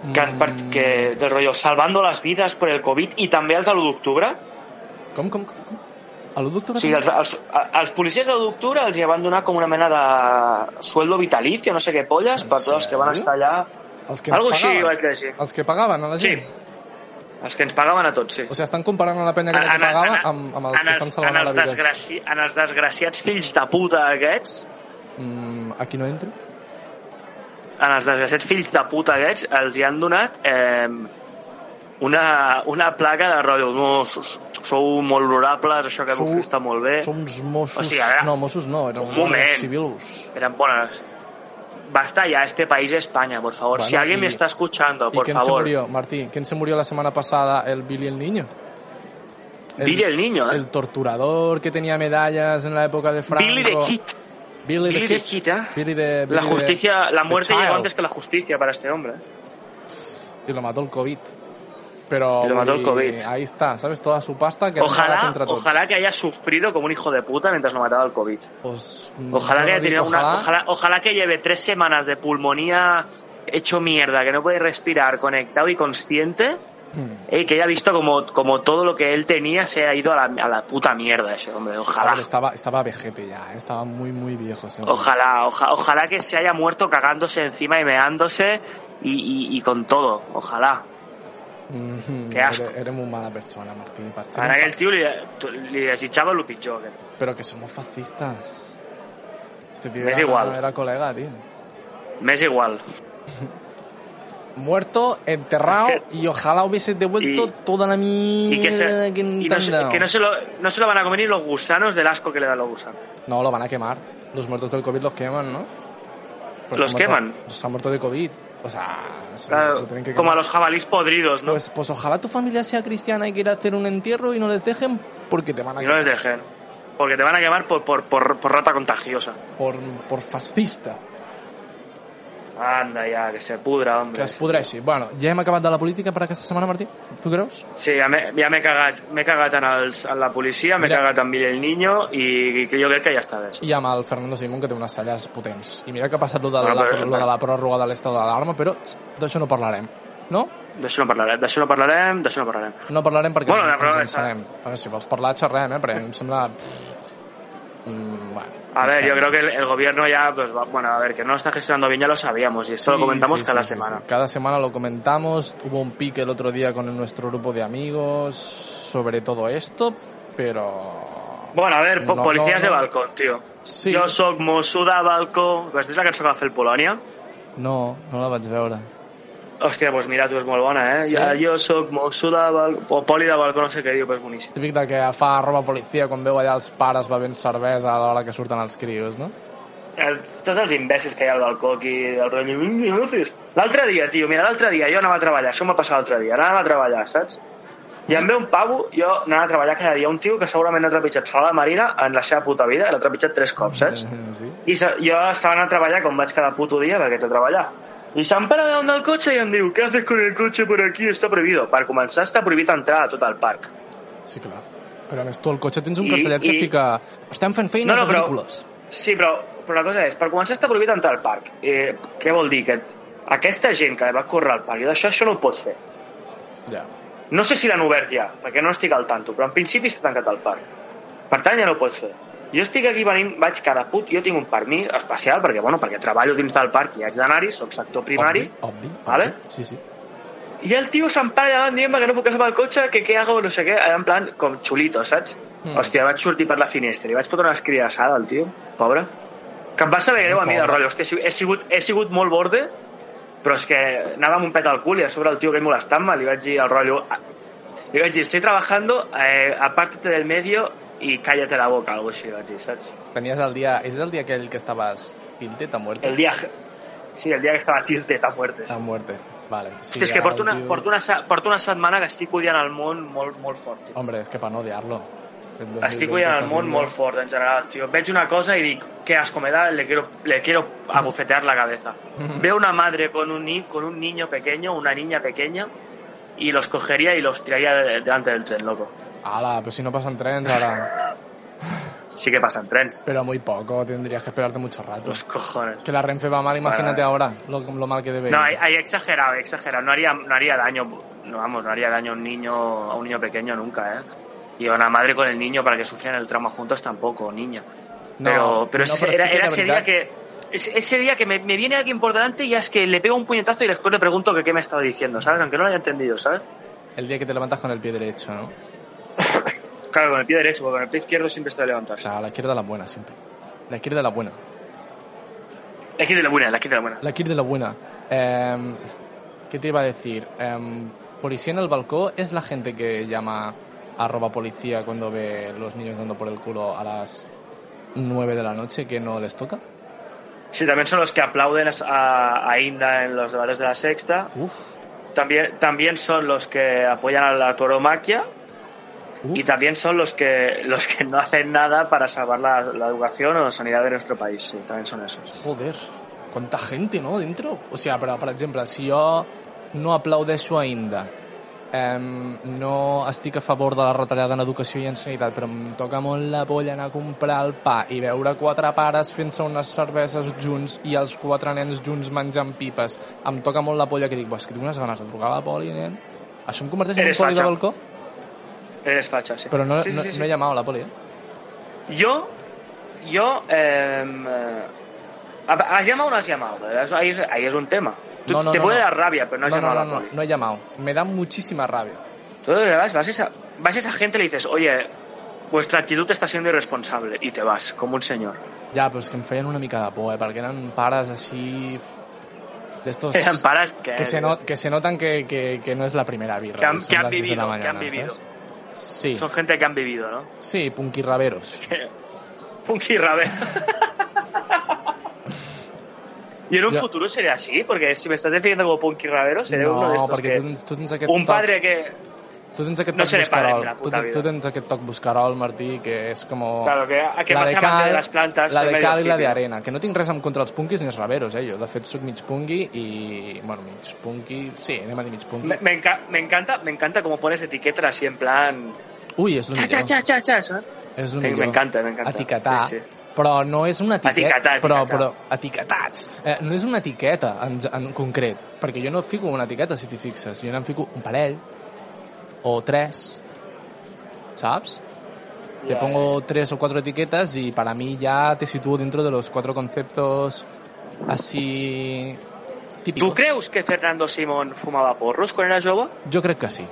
[SPEAKER 2] que
[SPEAKER 1] Mm,
[SPEAKER 2] han, part, que, del rotllo salvando les vides per el Covid i també els de l'1 d'octubre,
[SPEAKER 1] Com, com, com? com? A l'1 d'octubre?
[SPEAKER 2] o sigui, els, els, els policies de l'1 d'octubre els hi van donar com una mena de sueldo vitalicio, no sé què polles, per tots els que van estar allà,
[SPEAKER 1] els que ens
[SPEAKER 2] algo així
[SPEAKER 1] pagaven.
[SPEAKER 2] vaig llegir.
[SPEAKER 1] Els que pagaven a la
[SPEAKER 2] Sí,
[SPEAKER 1] gent?
[SPEAKER 2] els que ens pagaven a tots, sí.
[SPEAKER 1] O sigui, estan comparant a la penya que, que pagava amb, amb els
[SPEAKER 2] en
[SPEAKER 1] que estan salvant
[SPEAKER 2] en
[SPEAKER 1] a la
[SPEAKER 2] els
[SPEAKER 1] vida.
[SPEAKER 2] Desgraci, en els desgraciats fills de puta aquests,
[SPEAKER 1] Mm, aquí no entro?
[SPEAKER 2] en els desgraciats fills de puta aquests, els hi han donat eh, una, una placa de rotllo. No, sou, sou molt honorables, això que
[SPEAKER 1] Sou-
[SPEAKER 2] vos està molt bé.
[SPEAKER 1] Són uns Mossos...
[SPEAKER 2] Eh, O sigui, a veure,
[SPEAKER 1] no, Mossos no, eren
[SPEAKER 2] un moment.
[SPEAKER 1] guàrdies civils.
[SPEAKER 2] Eren bones. Basta ya, este país es España, por favor.
[SPEAKER 1] Bueno,
[SPEAKER 2] si alguien
[SPEAKER 1] y-
[SPEAKER 2] me está escuchando,
[SPEAKER 1] ¿Y
[SPEAKER 2] por
[SPEAKER 1] quién se
[SPEAKER 2] favor.
[SPEAKER 1] murió, Martí? ¿Quién se murió la semana pasada? ¿El Billy el Niño?
[SPEAKER 2] Billy el niño, ¿eh?
[SPEAKER 1] El torturador que tenía medallas en la época de Franco.
[SPEAKER 2] Billy the Kid.
[SPEAKER 1] Billy,
[SPEAKER 2] Billy
[SPEAKER 1] the
[SPEAKER 2] the
[SPEAKER 1] Kid.
[SPEAKER 2] Kid, ¿eh?
[SPEAKER 1] Billy the-
[SPEAKER 2] La
[SPEAKER 1] Billy the-
[SPEAKER 2] justicia, la
[SPEAKER 1] the
[SPEAKER 2] muerte llegó
[SPEAKER 1] Child.
[SPEAKER 2] antes que la justicia para este hombre. ¿eh?
[SPEAKER 1] Y lo mató el COVID. Pero
[SPEAKER 2] Y lo mató el
[SPEAKER 1] uy,
[SPEAKER 2] COVID.
[SPEAKER 1] ahí está, ¿sabes? Toda su pasta que lanzaba
[SPEAKER 2] Ojalá,
[SPEAKER 1] contra todos.
[SPEAKER 2] ojalá que haya sufrido como un hijo de puta mientras lo mataba el COVID.
[SPEAKER 1] Pues, mm,
[SPEAKER 2] Ojalá
[SPEAKER 1] yo
[SPEAKER 2] que haya
[SPEAKER 1] digo
[SPEAKER 2] tenido una,
[SPEAKER 1] ojalá.
[SPEAKER 2] ojalá, ojalá que lleve tres semanas de pulmonía hecho mierda, que no puede respirar, conectado y consciente,
[SPEAKER 1] Mm.
[SPEAKER 2] y que haya visto como, como todo lo que él tenía se ha ido a la, a la puta mierda ese hombre.
[SPEAKER 1] A ver,
[SPEAKER 2] Ojalá,
[SPEAKER 1] Estaba, estaba vejete ya, eh, estaba muy, muy viejo. ese hombre.
[SPEAKER 2] ojalá, oja- ojalá que se haya muerto cagándose encima y meándose y, y- y con todo. Ojalá.
[SPEAKER 1] Mhm,
[SPEAKER 2] Qué asco.
[SPEAKER 1] Eres, eres muy mala persona, Martín. para ser
[SPEAKER 2] Ahora
[SPEAKER 1] un
[SPEAKER 2] que el tío le, tú- le desechaba lo pichó. que-
[SPEAKER 1] pa- Pero que somos fascistas. Este tío
[SPEAKER 2] Es
[SPEAKER 1] era-
[SPEAKER 2] igual.
[SPEAKER 1] era colega, tío.
[SPEAKER 2] Me es igual.
[SPEAKER 1] muerto, enterrado y ojalá hubiese devuelto
[SPEAKER 2] Y-
[SPEAKER 1] toda la mierda
[SPEAKER 2] Y que, se,
[SPEAKER 1] que
[SPEAKER 2] y
[SPEAKER 1] te
[SPEAKER 2] no,
[SPEAKER 1] han
[SPEAKER 2] se,
[SPEAKER 1] dado.
[SPEAKER 2] que no, se lo, no se lo van a comer ni los gusanos del asco que le dan los gusanos.
[SPEAKER 1] No, lo van a quemar. Los muertos del COVID los queman, ¿no? Pues
[SPEAKER 2] Los
[SPEAKER 1] se han
[SPEAKER 2] queman.
[SPEAKER 1] muerto- pues se han muerto de COVID. O sea, se
[SPEAKER 2] Claro,
[SPEAKER 1] lo tienen que
[SPEAKER 2] como a
[SPEAKER 1] quemar.
[SPEAKER 2] los jabalís podridos, ¿no?
[SPEAKER 1] Pues, pues ojalá tu familia sea cristiana y quiera hacer un entierro y no les dejen porque te van a
[SPEAKER 2] y no les
[SPEAKER 1] quemar.
[SPEAKER 2] dejen. Porque te van a quemar por, por, por, por rata contagiosa.
[SPEAKER 1] por, por fascista.
[SPEAKER 2] Anda ya, que se pudra, hombre.
[SPEAKER 1] Que es podreixi. Bueno, ja hem acabat de la política per aquesta setmana, Martí? Tu creus?
[SPEAKER 2] Sí, ja m'he ja m'he cagat, m'he cagat en, els, en la policia, m'he
[SPEAKER 1] Mira.
[SPEAKER 2] cagat en Billy el Niño i, i que jo crec que ja està bé.
[SPEAKER 1] I amb el Fernando Simón, que té unes celles potents. I mira que ha passat lo de,
[SPEAKER 2] Bueno,
[SPEAKER 1] la,
[SPEAKER 2] Ah, però-
[SPEAKER 1] lo de la pròrroga de l'estat d'alarma, però txt, d'això no parlarem. No?
[SPEAKER 2] D'això no parlarem, d'això no parlarem, d'això no parlarem.
[SPEAKER 1] No parlarem perquè
[SPEAKER 2] Bueno,
[SPEAKER 1] bueno,
[SPEAKER 2] la
[SPEAKER 1] ens,
[SPEAKER 2] prova
[SPEAKER 1] ens
[SPEAKER 2] està.
[SPEAKER 1] ensanem. A veure, si vols parlar, xerrem, eh? Perquè em sembla... Mm, bueno,
[SPEAKER 2] A ver, yo creo que el, el gobierno ya, pues, va- bueno, a ver, que no lo está gestionando bien ya lo sabíamos y esto lo comentamos cada semana.
[SPEAKER 1] Cada semana lo comentamos. Hubo un pique el otro día con nuestro grupo de amigos sobre todo esto, pero...
[SPEAKER 2] Bueno, a ver, po-
[SPEAKER 1] No,
[SPEAKER 2] policies
[SPEAKER 1] no, no.
[SPEAKER 2] de balcón, tío.
[SPEAKER 1] Sí.
[SPEAKER 2] Jo sóc Mossuda Balcó. Vestís la cançó que va fer el Polònia?
[SPEAKER 1] No, no la vaig veure.
[SPEAKER 2] Hòstia, doncs pues mira, tu és molt bona, eh?
[SPEAKER 1] Sí?
[SPEAKER 2] Sí? Ja, jo sóc Mossu de Balcó, o Poli de Balcó, no sé pues, què diu, però és boníssim.
[SPEAKER 1] Típic de que fa roba policia quan veu allà els pares bevent cervesa a l'hora que surten els crios, no?
[SPEAKER 2] El, Eh, tots els imbècils que hi ha al balcó aquí, del rotllo... "Mm, no fes". L'altre dia, tio, mira, l'altre dia jo anava a treballar, això m'ha passat l'altre dia, anava a treballar, saps? I em ve un pavo, jo anava a treballar cada dia, un tio que segurament no ha trepitjat sala de marina en la seva puta vida, l'ha trepitjat tres cops, saps?
[SPEAKER 1] Eh, Sí.
[SPEAKER 2] I se, jo estava anant a treballar com vaig cada puto dia perquè ets a treballar. I se'm para davant del cotxe i em diu ¿Qué haces con el cotxe por aquí? Está prohibido. Per començar, està prohibit entrar a tot el parc.
[SPEAKER 1] Sí, clar. Però a més tu al cotxe tens un
[SPEAKER 2] I-
[SPEAKER 1] cartellet que
[SPEAKER 2] i-
[SPEAKER 1] fica... Estem fent feines
[SPEAKER 2] No, no, però-
[SPEAKER 1] agrícoles.
[SPEAKER 2] Sí, però, però la cosa és, per començar està prohibit entrar al parc. Eh, què vol dir? Que aquesta gent que va córrer al parc i d'això, això no ho pots fer.
[SPEAKER 1] Ja.
[SPEAKER 2] No sé si l'han obert ja, perquè no estic al tanto, però en principi està tancat al parc. Per tant, ja no ho pots fer. Jo estic aquí venint, vaig cada put, jo tinc un permís especial, perquè, bueno, perquè treballo dins del parc i haig d'anar-hi, soc sector primari,
[SPEAKER 1] Obvi, obvi,
[SPEAKER 2] Vale?
[SPEAKER 1] obvi. Sí, sí.
[SPEAKER 2] I el tio se'n para davant dient que no puc agafar el cotxe, que què hago, no sé què, en plan, com xulito, saps?
[SPEAKER 1] Mm.
[SPEAKER 2] Mm. Hòstia, vaig sortir per la finestra i vaig fotre una escridassada al tio, pobre. Que em va saber greu a mi de
[SPEAKER 1] Pobre.
[SPEAKER 2] rotllo, hòstia, he sigut- he sigut, he sigut molt borde, però és que anava amb un pet al cul i a sobre el tio que molestant-me li vaig dir al rotllo... "Ah", Li vaig dir, estoy trabajando, eh, apártate del medio y cállate la boca, algo així, li vaig dir, saps?
[SPEAKER 1] Tenies el dia... És el dia aquell que estaves tiltet a muerte?
[SPEAKER 2] El dia... Sí, el dia que estava tiltet a muertes.
[SPEAKER 1] A muerte, vale. Sí,
[SPEAKER 2] Hòstia, és que
[SPEAKER 1] ara
[SPEAKER 2] porto
[SPEAKER 1] el
[SPEAKER 2] una,
[SPEAKER 1] tio-
[SPEAKER 2] porto, una, se- porto una setmana que estic odiant el món molt, molt fort, tio.
[SPEAKER 1] Hombre, és que per no odiar-lo. aquest 2020.
[SPEAKER 2] Estic cuidant el món molt fort, en general, tio. Veig una cosa y dic, qué asco me da, le quiero, le quiero abofetear la cabeza.
[SPEAKER 1] Mm.
[SPEAKER 2] Veo una madre con un, ni- con un niño pequeño, una niña pequeña, y los cogería y los tiraría de- delante del tren, loco.
[SPEAKER 1] Ala, però si no passen trens ara.
[SPEAKER 2] Sí que pasan trens.
[SPEAKER 1] Pero muy poco, tendrías que esperarte mucho rato.
[SPEAKER 2] Los cojones.
[SPEAKER 1] Que la Renfe va mal, imagínate ahora lo, lo mal que debe ir.
[SPEAKER 2] No, ahí, ahí he exagerado, he exagerado. No haría, no haría daño, no, vamos, no haría daño a un niño, a un niño pequeño nunca, ¿eh? Y a una madre con el niño para que sufrieran el trauma juntos tampoco, niña.
[SPEAKER 1] No,
[SPEAKER 2] pero pero
[SPEAKER 1] no,
[SPEAKER 2] ese,
[SPEAKER 1] sí
[SPEAKER 2] era,
[SPEAKER 1] que la
[SPEAKER 2] era ese
[SPEAKER 1] veritat-
[SPEAKER 2] día que... Ese ese día que me, me viene alguien por delante y es que le pego un puñetazo y después le pregunto que qué me ha estado diciendo, ¿sabes? Aunque no lo haya entendido, ¿sabes?
[SPEAKER 1] El día que te levantas con el pie derecho, ¿no?
[SPEAKER 2] Claro, con el pie derecho, porque con el pie izquierdo siempre está
[SPEAKER 1] O
[SPEAKER 2] de levantarse.
[SPEAKER 1] sea, la izquierda es la buena, siempre. La izquierda es la buena.
[SPEAKER 2] La izquierda es la buena, la izquierda es la buena.
[SPEAKER 1] La izquierda es la buena. Em, ¿Qué te iba a decir? Em, policía en el balcón es la gente que llama arroba policía cuando ve los niños dando por el culo a las 9 de la noche que no les toca.
[SPEAKER 2] Sí, también son los que aplauden a, a Inda en los debates de la sexta.
[SPEAKER 1] Uf.
[SPEAKER 2] También, también son los que apoyan a la toromaquia.
[SPEAKER 1] uf.
[SPEAKER 2] Y también son los que los que no hacen nada para salvar la, la educación o la sanidad de nuestro país. Sí, también son esos.
[SPEAKER 1] Joder, quanta gent, no, dintre? O sigui, però, per exemple, si jo no aplaudeixo a Inda, em, no estic a favor de la retallada en educació i en sanitat, però em toca molt la polla anar a comprar el pa i veure quatre pares fent-se unes cerveses junts i els quatre nens junts menjant pipes. Em toca molt la polla que dic, "Buah, és que tinc unes ganes de trucar a la poli, nen. Això em converteix en un
[SPEAKER 2] Eres
[SPEAKER 1] poli de
[SPEAKER 2] facha.
[SPEAKER 1] balcó?
[SPEAKER 2] Eres facha, sí.
[SPEAKER 1] Però no,
[SPEAKER 2] Sí, sí,
[SPEAKER 1] no,
[SPEAKER 2] sí, sí.
[SPEAKER 1] no he llamat a la poli, eh?
[SPEAKER 2] Yo, yo, em, eh, has llamado o no has llamado. Eso Ahí, es- ahí es un tema. Tú-
[SPEAKER 1] No, no,
[SPEAKER 2] te
[SPEAKER 1] no,
[SPEAKER 2] puede
[SPEAKER 1] no.
[SPEAKER 2] dar rabia, pero
[SPEAKER 1] No,
[SPEAKER 2] no has
[SPEAKER 1] no,
[SPEAKER 2] llamado
[SPEAKER 1] no,
[SPEAKER 2] a la
[SPEAKER 1] no,
[SPEAKER 2] poli.
[SPEAKER 1] no he llamado. Me da muchísima rabia.
[SPEAKER 2] Tú le vas, vas a esa, vas a esa gente y le dices, oye, vuestra actitud está siendo irresponsable y te vas como un señor.
[SPEAKER 1] Ja, però és que em feien una mica de por, eh? Perquè eren pares així... D'estos...
[SPEAKER 2] Eran paras
[SPEAKER 1] Pues
[SPEAKER 2] que, eh,
[SPEAKER 1] Que se, not, que se notan que, que, que no és la primera birra. eh,
[SPEAKER 2] que han,
[SPEAKER 1] són
[SPEAKER 2] que han
[SPEAKER 1] les diez de la
[SPEAKER 2] vivido, que
[SPEAKER 1] mañana,
[SPEAKER 2] han vivido.
[SPEAKER 1] saps? Sí,
[SPEAKER 2] Son gente que han vivido, ¿no?
[SPEAKER 1] sí, punquirraveros.
[SPEAKER 2] Punky Rabbit. Y en un
[SPEAKER 1] Ya.
[SPEAKER 2] futuro sería así, porque si me estás definiendo como Punky Ravero, seré
[SPEAKER 1] no,
[SPEAKER 2] uno de estos
[SPEAKER 1] perquè
[SPEAKER 2] que...
[SPEAKER 1] tu tens, tu tens aquest
[SPEAKER 2] Un
[SPEAKER 1] toc,
[SPEAKER 2] padre que...
[SPEAKER 1] tu tens aquest
[SPEAKER 2] no
[SPEAKER 1] toc
[SPEAKER 2] seré padre en
[SPEAKER 1] buscarol,
[SPEAKER 2] la
[SPEAKER 1] tu,
[SPEAKER 2] puta
[SPEAKER 1] te-
[SPEAKER 2] vida.
[SPEAKER 1] tu tens aquest toc buscarol, Martí, que és com...
[SPEAKER 2] Claro, que, a que
[SPEAKER 1] Oh.
[SPEAKER 2] me
[SPEAKER 1] la de
[SPEAKER 2] hace amante de
[SPEAKER 1] cal,
[SPEAKER 2] las plantas.
[SPEAKER 1] la
[SPEAKER 2] soy
[SPEAKER 1] de
[SPEAKER 2] medio
[SPEAKER 1] cal i la
[SPEAKER 2] hippie.
[SPEAKER 1] de arena, que no tinc res en contra dels punquis ni els raveros, eh, jo. De fet, soc mig punqui i... Bueno, mig punqui... Sí, anem a dir mig punqui.
[SPEAKER 2] Me, me enca- me encanta, me encanta cómo pones etiquetas así en plan...
[SPEAKER 1] Ui, és lo
[SPEAKER 2] Cha, cha,
[SPEAKER 1] millor.
[SPEAKER 2] cha, cha, cha, eso, ¿eh?
[SPEAKER 1] És lo
[SPEAKER 2] Sí,
[SPEAKER 1] millor.
[SPEAKER 2] m'encanta, m'encanta.
[SPEAKER 1] Etiquetar.
[SPEAKER 2] Sí,
[SPEAKER 1] Sí,
[SPEAKER 2] sí.
[SPEAKER 1] sí. Però no és una etiqueta...
[SPEAKER 2] Etiquetar,
[SPEAKER 1] però,
[SPEAKER 2] etiquetar.
[SPEAKER 1] però, etiquetats. Eh, no és una etiqueta en, en concret, perquè jo no fico una etiqueta, si t'hi fixes. Jo n'en fico un parell, o tres, saps? Te
[SPEAKER 2] Ya,
[SPEAKER 1] pongo tres o cuatro etiquetas y para mí ya te sitúo dentro de los cuatro conceptos así típicos.
[SPEAKER 2] ¿Tú crees que Fernando Simón fumaba porros con era jove?
[SPEAKER 1] Jo crec que sí.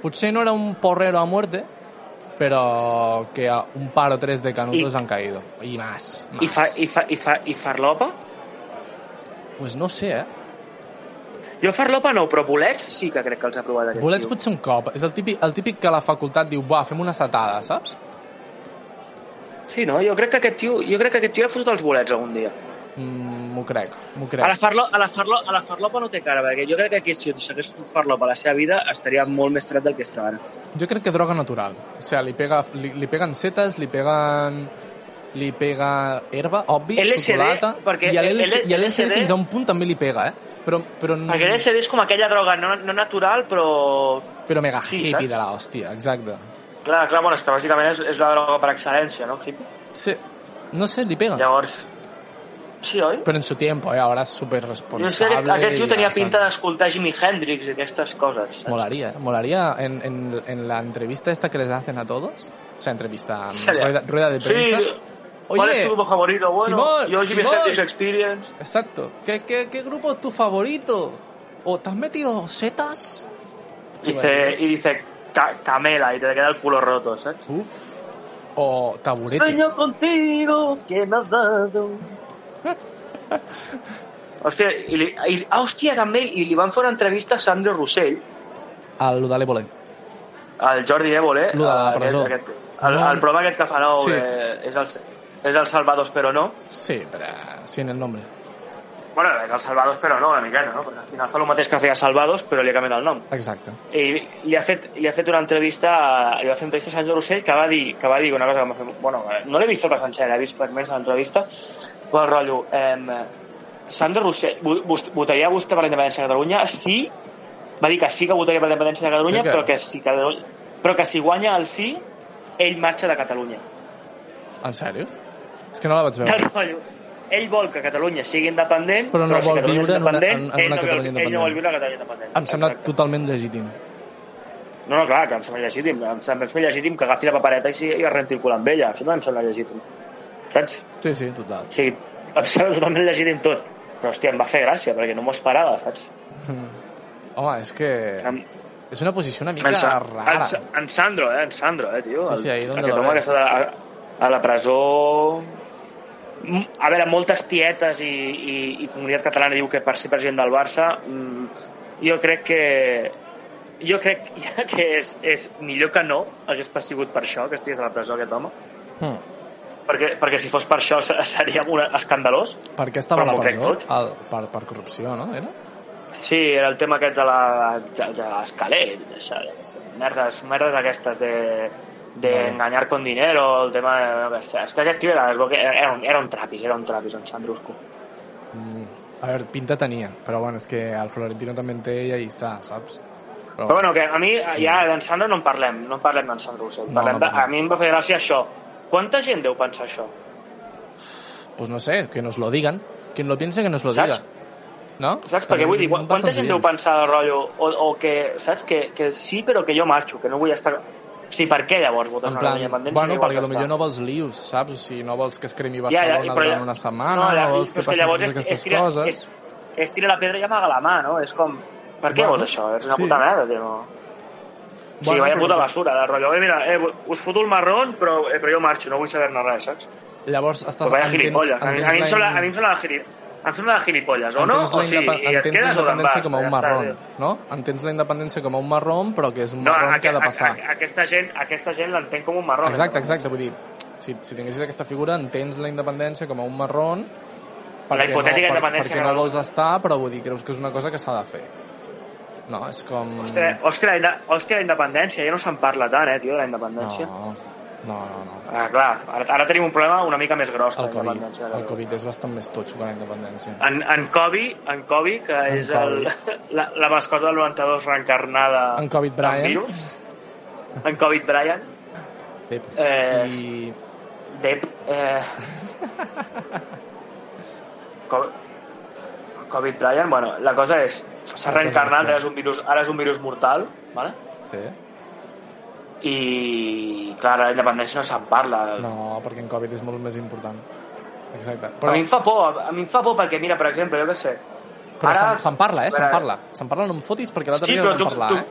[SPEAKER 1] Potser no era un porrero a muerte, però que a- un par o tres de canutos
[SPEAKER 2] I-
[SPEAKER 1] han caído. Y más. más.
[SPEAKER 2] ¿Y, fa, y, fa, y, fa, ¿Y farlopa?
[SPEAKER 1] Pues no sé, eh?
[SPEAKER 2] Jo farlopa no, però bolets sí que crec que els ha provat aquest
[SPEAKER 1] Bolets
[SPEAKER 2] tio.
[SPEAKER 1] potser un cop. És el típic, el típic que la facultat diu, buah, fem una setada, saps?
[SPEAKER 2] Sí, no? Jo crec que aquest tio, jo crec que aquest tio ha fotut els bolets algun dia.
[SPEAKER 1] Mm, M'ho crec, m'ho
[SPEAKER 2] A la,
[SPEAKER 1] crec.
[SPEAKER 2] farlo, a, la farlo, a la farlopa no té cara, perquè jo crec que aquest, si s'hagués fotut farlopa a la seva vida, estaria molt més tret del que està ara.
[SPEAKER 1] Jo crec que droga natural. O sigui, li, pega, li, li peguen setes, li peguen li pega herba, obvi,
[SPEAKER 2] LSD,
[SPEAKER 1] xocolata,
[SPEAKER 2] perquè
[SPEAKER 1] i a l'LSD
[SPEAKER 2] el-
[SPEAKER 1] i a l'LSD
[SPEAKER 2] LSD
[SPEAKER 1] fins a un punt també li pega, eh? Però, però, no-
[SPEAKER 2] Perquè l'SD és com aquella droga no, no natural, però...
[SPEAKER 1] però mega
[SPEAKER 2] Sí,
[SPEAKER 1] hippie
[SPEAKER 2] saps?
[SPEAKER 1] de l'hòstia, exacte.
[SPEAKER 2] Clar, clar, bueno, és que bàsicament és, és la droga per excel·lència, no? Hippie?
[SPEAKER 1] Sí, no sé, li pega.
[SPEAKER 2] Llavors... Sí, oi?
[SPEAKER 1] Però en su tiempo, eh? Ahora es súper
[SPEAKER 2] Jo sé que
[SPEAKER 1] responsable.
[SPEAKER 2] aquest tio
[SPEAKER 1] i
[SPEAKER 2] tenia
[SPEAKER 1] ja
[SPEAKER 2] pinta
[SPEAKER 1] saps.
[SPEAKER 2] d'escoltar Jimi Hendrix i aquestes coses. saps?
[SPEAKER 1] Molaría, eh, molaría en, en, en la entrevista esta que les hacen a todos. O sea, entrevista, mm,
[SPEAKER 2] Sí,
[SPEAKER 1] rueda, rueda de
[SPEAKER 2] Sí,
[SPEAKER 1] prensa.
[SPEAKER 2] ¿cuál es
[SPEAKER 1] Oye,
[SPEAKER 2] tu grupo favorito? Bueno,
[SPEAKER 1] Simón,
[SPEAKER 2] yo Jimi
[SPEAKER 1] Simón.
[SPEAKER 2] Hendrix Experience...
[SPEAKER 1] exacto. ¿Qué, qué, ¿Qué grupo es tu favorito? ¿O te has metido setas?
[SPEAKER 2] Dice, y dice "Ca- Camela y te queda el culo roto, ¿sabes?
[SPEAKER 1] Uf. O taburete.
[SPEAKER 2] Sueño contigo que me has dado. Hòstia, i li, i, ah, hòstia, també, i li van fer una entrevista a Sandro Rossell,
[SPEAKER 1] Al Ludale Bolé.
[SPEAKER 2] al Jordi Évole,
[SPEAKER 1] Lo de la
[SPEAKER 2] a
[SPEAKER 1] presó.
[SPEAKER 2] Aquest, aquest, el,
[SPEAKER 1] No.
[SPEAKER 2] el programa aquest que fa nou
[SPEAKER 1] Sí.
[SPEAKER 2] sí. eh, és, el, és el Salvados però no,
[SPEAKER 1] Sí, pero sin el nombre.
[SPEAKER 2] Bueno, és el Salvados, però no, una miqueta, no? Perquè al final fa el mateix que feia Salvados, però li ha canviat el nom.
[SPEAKER 1] Exacte.
[SPEAKER 2] I li ha fet, li ha fet una entrevista, li va fer entrevista a Sant Joan Ocell, que va dir, que va dir una cosa que m'ha fet... Bueno, no l'he vist tota sencera, he vist fragments de l'entrevista, però el rotllo, eh, Sandro Rossell, vo- vos- votaria vostè per la independència de Catalunya? Sí, va dir que sí que votaria per la independència de
[SPEAKER 1] Sí
[SPEAKER 2] Catalunya,
[SPEAKER 1] que-
[SPEAKER 2] però, que si, Catalu- però que si guanya el sí, ell marxa de Catalunya.
[SPEAKER 1] En sèrio? És que no la vaig veure.
[SPEAKER 2] Del rotllo. Ell vol que Catalunya sigui independent,
[SPEAKER 1] Però no vol
[SPEAKER 2] Catalunya és
[SPEAKER 1] viure en una-
[SPEAKER 2] independent,
[SPEAKER 1] en- en
[SPEAKER 2] ell
[SPEAKER 1] una
[SPEAKER 2] no vol-
[SPEAKER 1] Catalunya
[SPEAKER 2] Ell no
[SPEAKER 1] independent.
[SPEAKER 2] vol viure a Catalunya independent.
[SPEAKER 1] Em sembla
[SPEAKER 2] Exacte.
[SPEAKER 1] totalment legítim.
[SPEAKER 2] No, no, clar, que em sembla legítim. Em sembla més legítim que agafi la papereta i, si- i es renticula amb ella. Això no em sembla legítim. Saps?
[SPEAKER 1] Sí, sí, total.
[SPEAKER 2] O sigui, em sembla totalment legítim tot. Però, hòstia, em va fer gràcia, perquè no m'ho esperava, saps?
[SPEAKER 1] Home, és que...
[SPEAKER 2] Em,
[SPEAKER 1] És una posició una mica
[SPEAKER 2] en, Sa- en,
[SPEAKER 1] rara.
[SPEAKER 2] Sa- en Sandro, eh? En Sandro, eh, tio?
[SPEAKER 1] Sí, sí, ahí
[SPEAKER 2] el,
[SPEAKER 1] donde
[SPEAKER 2] aquest
[SPEAKER 1] lo
[SPEAKER 2] home que
[SPEAKER 1] ves.
[SPEAKER 2] està a, a la presó... Mm, A veure, moltes tietes i, i, i comunitat catalana diu que per ser president del Barça mm, jo crec que jo crec que és, és millor que no hagués sigut per això que estigués a la presó aquest home
[SPEAKER 1] Hm.
[SPEAKER 2] perquè, perquè si fos per això se- seria una, escandalós
[SPEAKER 1] Per què estava a
[SPEAKER 2] Però
[SPEAKER 1] la
[SPEAKER 2] m'ho crec
[SPEAKER 1] presó?
[SPEAKER 2] tot.
[SPEAKER 1] El, per, per corrupció, no? Era?
[SPEAKER 2] Sí, era el tema aquest de la de, de l'escalet, això, merdes, merdes aquestes de
[SPEAKER 1] Vale.
[SPEAKER 2] d'enganyar con dinero, el tema de... no sé, És que aquest tio era, es veu que era, un, era un trapis, era un trapis, en Sandrusco.
[SPEAKER 1] Mm. A veure, pinta tenia, però bueno, és que el Florentino també en té i ahí està, saps? Però,
[SPEAKER 2] Però bueno, que a mi eh, ja d'en Sandro no en parlem, no en parlem d'en Sandro Ocell.
[SPEAKER 1] No,
[SPEAKER 2] parlem
[SPEAKER 1] no
[SPEAKER 2] de,
[SPEAKER 1] parlem.
[SPEAKER 2] a mi em va fer gràcia això. Quanta gent deu pensar això?
[SPEAKER 1] pues no sé, que nos lo digan. Quien lo piense que nos lo
[SPEAKER 2] Saps?
[SPEAKER 1] diga. No?
[SPEAKER 2] Saps? Perquè vull dir, quan- quanta gent deu
[SPEAKER 1] diu...
[SPEAKER 2] pensar del rotllo, o, o que, saps, que, que sí, però que jo marxo, que no vull estar... O sigui, per què llavors votes
[SPEAKER 1] En
[SPEAKER 2] una
[SPEAKER 1] plan,
[SPEAKER 2] independència?
[SPEAKER 1] bueno, perquè potser no vols lius, saps? O sigui, no vols que es cremi
[SPEAKER 2] Ja, ja,
[SPEAKER 1] Barcelona
[SPEAKER 2] però ja-
[SPEAKER 1] durant una setmana, no,
[SPEAKER 2] ja,
[SPEAKER 1] vols que
[SPEAKER 2] però és
[SPEAKER 1] passin
[SPEAKER 2] llavors
[SPEAKER 1] totes
[SPEAKER 2] és-
[SPEAKER 1] aquestes
[SPEAKER 2] és tirar-
[SPEAKER 1] coses...
[SPEAKER 2] És, és tirar la pedra i amagar la mà, no? És com... Per què
[SPEAKER 1] Bueno,
[SPEAKER 2] vols això? És una
[SPEAKER 1] sí.
[SPEAKER 2] puta merda, tio. No? Bueno, sí, vaya
[SPEAKER 1] però
[SPEAKER 2] puta
[SPEAKER 1] clar,
[SPEAKER 2] basura, de rotllo. Eh, mira, eh, us foto el marrón, però, eh, però jo marxo, no vull saber-ne res, saps?
[SPEAKER 1] Llavors estàs...
[SPEAKER 2] Però vaya
[SPEAKER 1] entens-
[SPEAKER 2] gilipolles. A mi, a, mi em
[SPEAKER 1] entens
[SPEAKER 2] sembla,
[SPEAKER 1] la-
[SPEAKER 2] a mi em sembla de gili- em sembla de gilipolles, o no?
[SPEAKER 1] Entens
[SPEAKER 2] O
[SPEAKER 1] la
[SPEAKER 2] sigui,
[SPEAKER 1] indepe-
[SPEAKER 2] i et
[SPEAKER 1] entens la
[SPEAKER 2] quedes o te'n
[SPEAKER 1] independència
[SPEAKER 2] vas,
[SPEAKER 1] com a
[SPEAKER 2] ja
[SPEAKER 1] un
[SPEAKER 2] està,
[SPEAKER 1] marrón,
[SPEAKER 2] tio.
[SPEAKER 1] no? Entens la independència com a un marrón, però que és un
[SPEAKER 2] No,
[SPEAKER 1] marrón que
[SPEAKER 2] aqu
[SPEAKER 1] ha de passar.
[SPEAKER 2] a, a, aquesta gent, aquesta gent l'entenc com un marrón.
[SPEAKER 1] Exacte,
[SPEAKER 2] eh?
[SPEAKER 1] exacte, vull dir, si, si tinguessis aquesta figura entens la independència com a un marrón
[SPEAKER 2] La hipotètica
[SPEAKER 1] no,
[SPEAKER 2] independència
[SPEAKER 1] perquè
[SPEAKER 2] que
[SPEAKER 1] no
[SPEAKER 2] no-
[SPEAKER 1] vols estar, però vull dir, creus que és una cosa que s'ha de fer. No, és com...
[SPEAKER 2] Hòstia, hòstia, la inde- hòstia, la independència, ja no se'n parla tant, eh, tio, de la
[SPEAKER 1] no,
[SPEAKER 2] independència.
[SPEAKER 1] no, no, no.
[SPEAKER 2] Ah, clar, ara, ara tenim un problema una mica més gros que
[SPEAKER 1] El
[SPEAKER 2] la
[SPEAKER 1] Covid,
[SPEAKER 2] independència. Ah,
[SPEAKER 1] el Covid és bastant més totxo que la independència.
[SPEAKER 2] En, en Kobe, en Kobe, que
[SPEAKER 1] En
[SPEAKER 2] és
[SPEAKER 1] Kobe.
[SPEAKER 2] El, la, la mascota del 92 reencarnada
[SPEAKER 1] En Covid Bryant.
[SPEAKER 2] en virus, en Covid Bryant,
[SPEAKER 1] Pep.
[SPEAKER 2] Eh,
[SPEAKER 1] I...
[SPEAKER 2] Dep... Eh... Co- Covid Bryant, bueno, la cosa és, s'ha
[SPEAKER 1] La cosa és
[SPEAKER 2] reencarnat,
[SPEAKER 1] que-
[SPEAKER 2] ara és, un virus, ara és un virus mortal, vale?
[SPEAKER 1] Sí?
[SPEAKER 2] i clar, la independència no se'n parla.
[SPEAKER 1] No, perquè en Covid és molt més important. Exacte.
[SPEAKER 2] Però...
[SPEAKER 1] Però,
[SPEAKER 2] A mi em fa por, a mi em fa por perquè, mira, per exemple, jo què sé,
[SPEAKER 1] però
[SPEAKER 2] ara-
[SPEAKER 1] se'n- se'n parla, eh?
[SPEAKER 2] Espera,
[SPEAKER 1] Se'n
[SPEAKER 2] eh?
[SPEAKER 1] parla. Se'n parla, no em fotis, perquè l'altre
[SPEAKER 2] Sí,
[SPEAKER 1] dia
[SPEAKER 2] però
[SPEAKER 1] vam
[SPEAKER 2] tu-
[SPEAKER 1] parlar,
[SPEAKER 2] tu-
[SPEAKER 1] eh?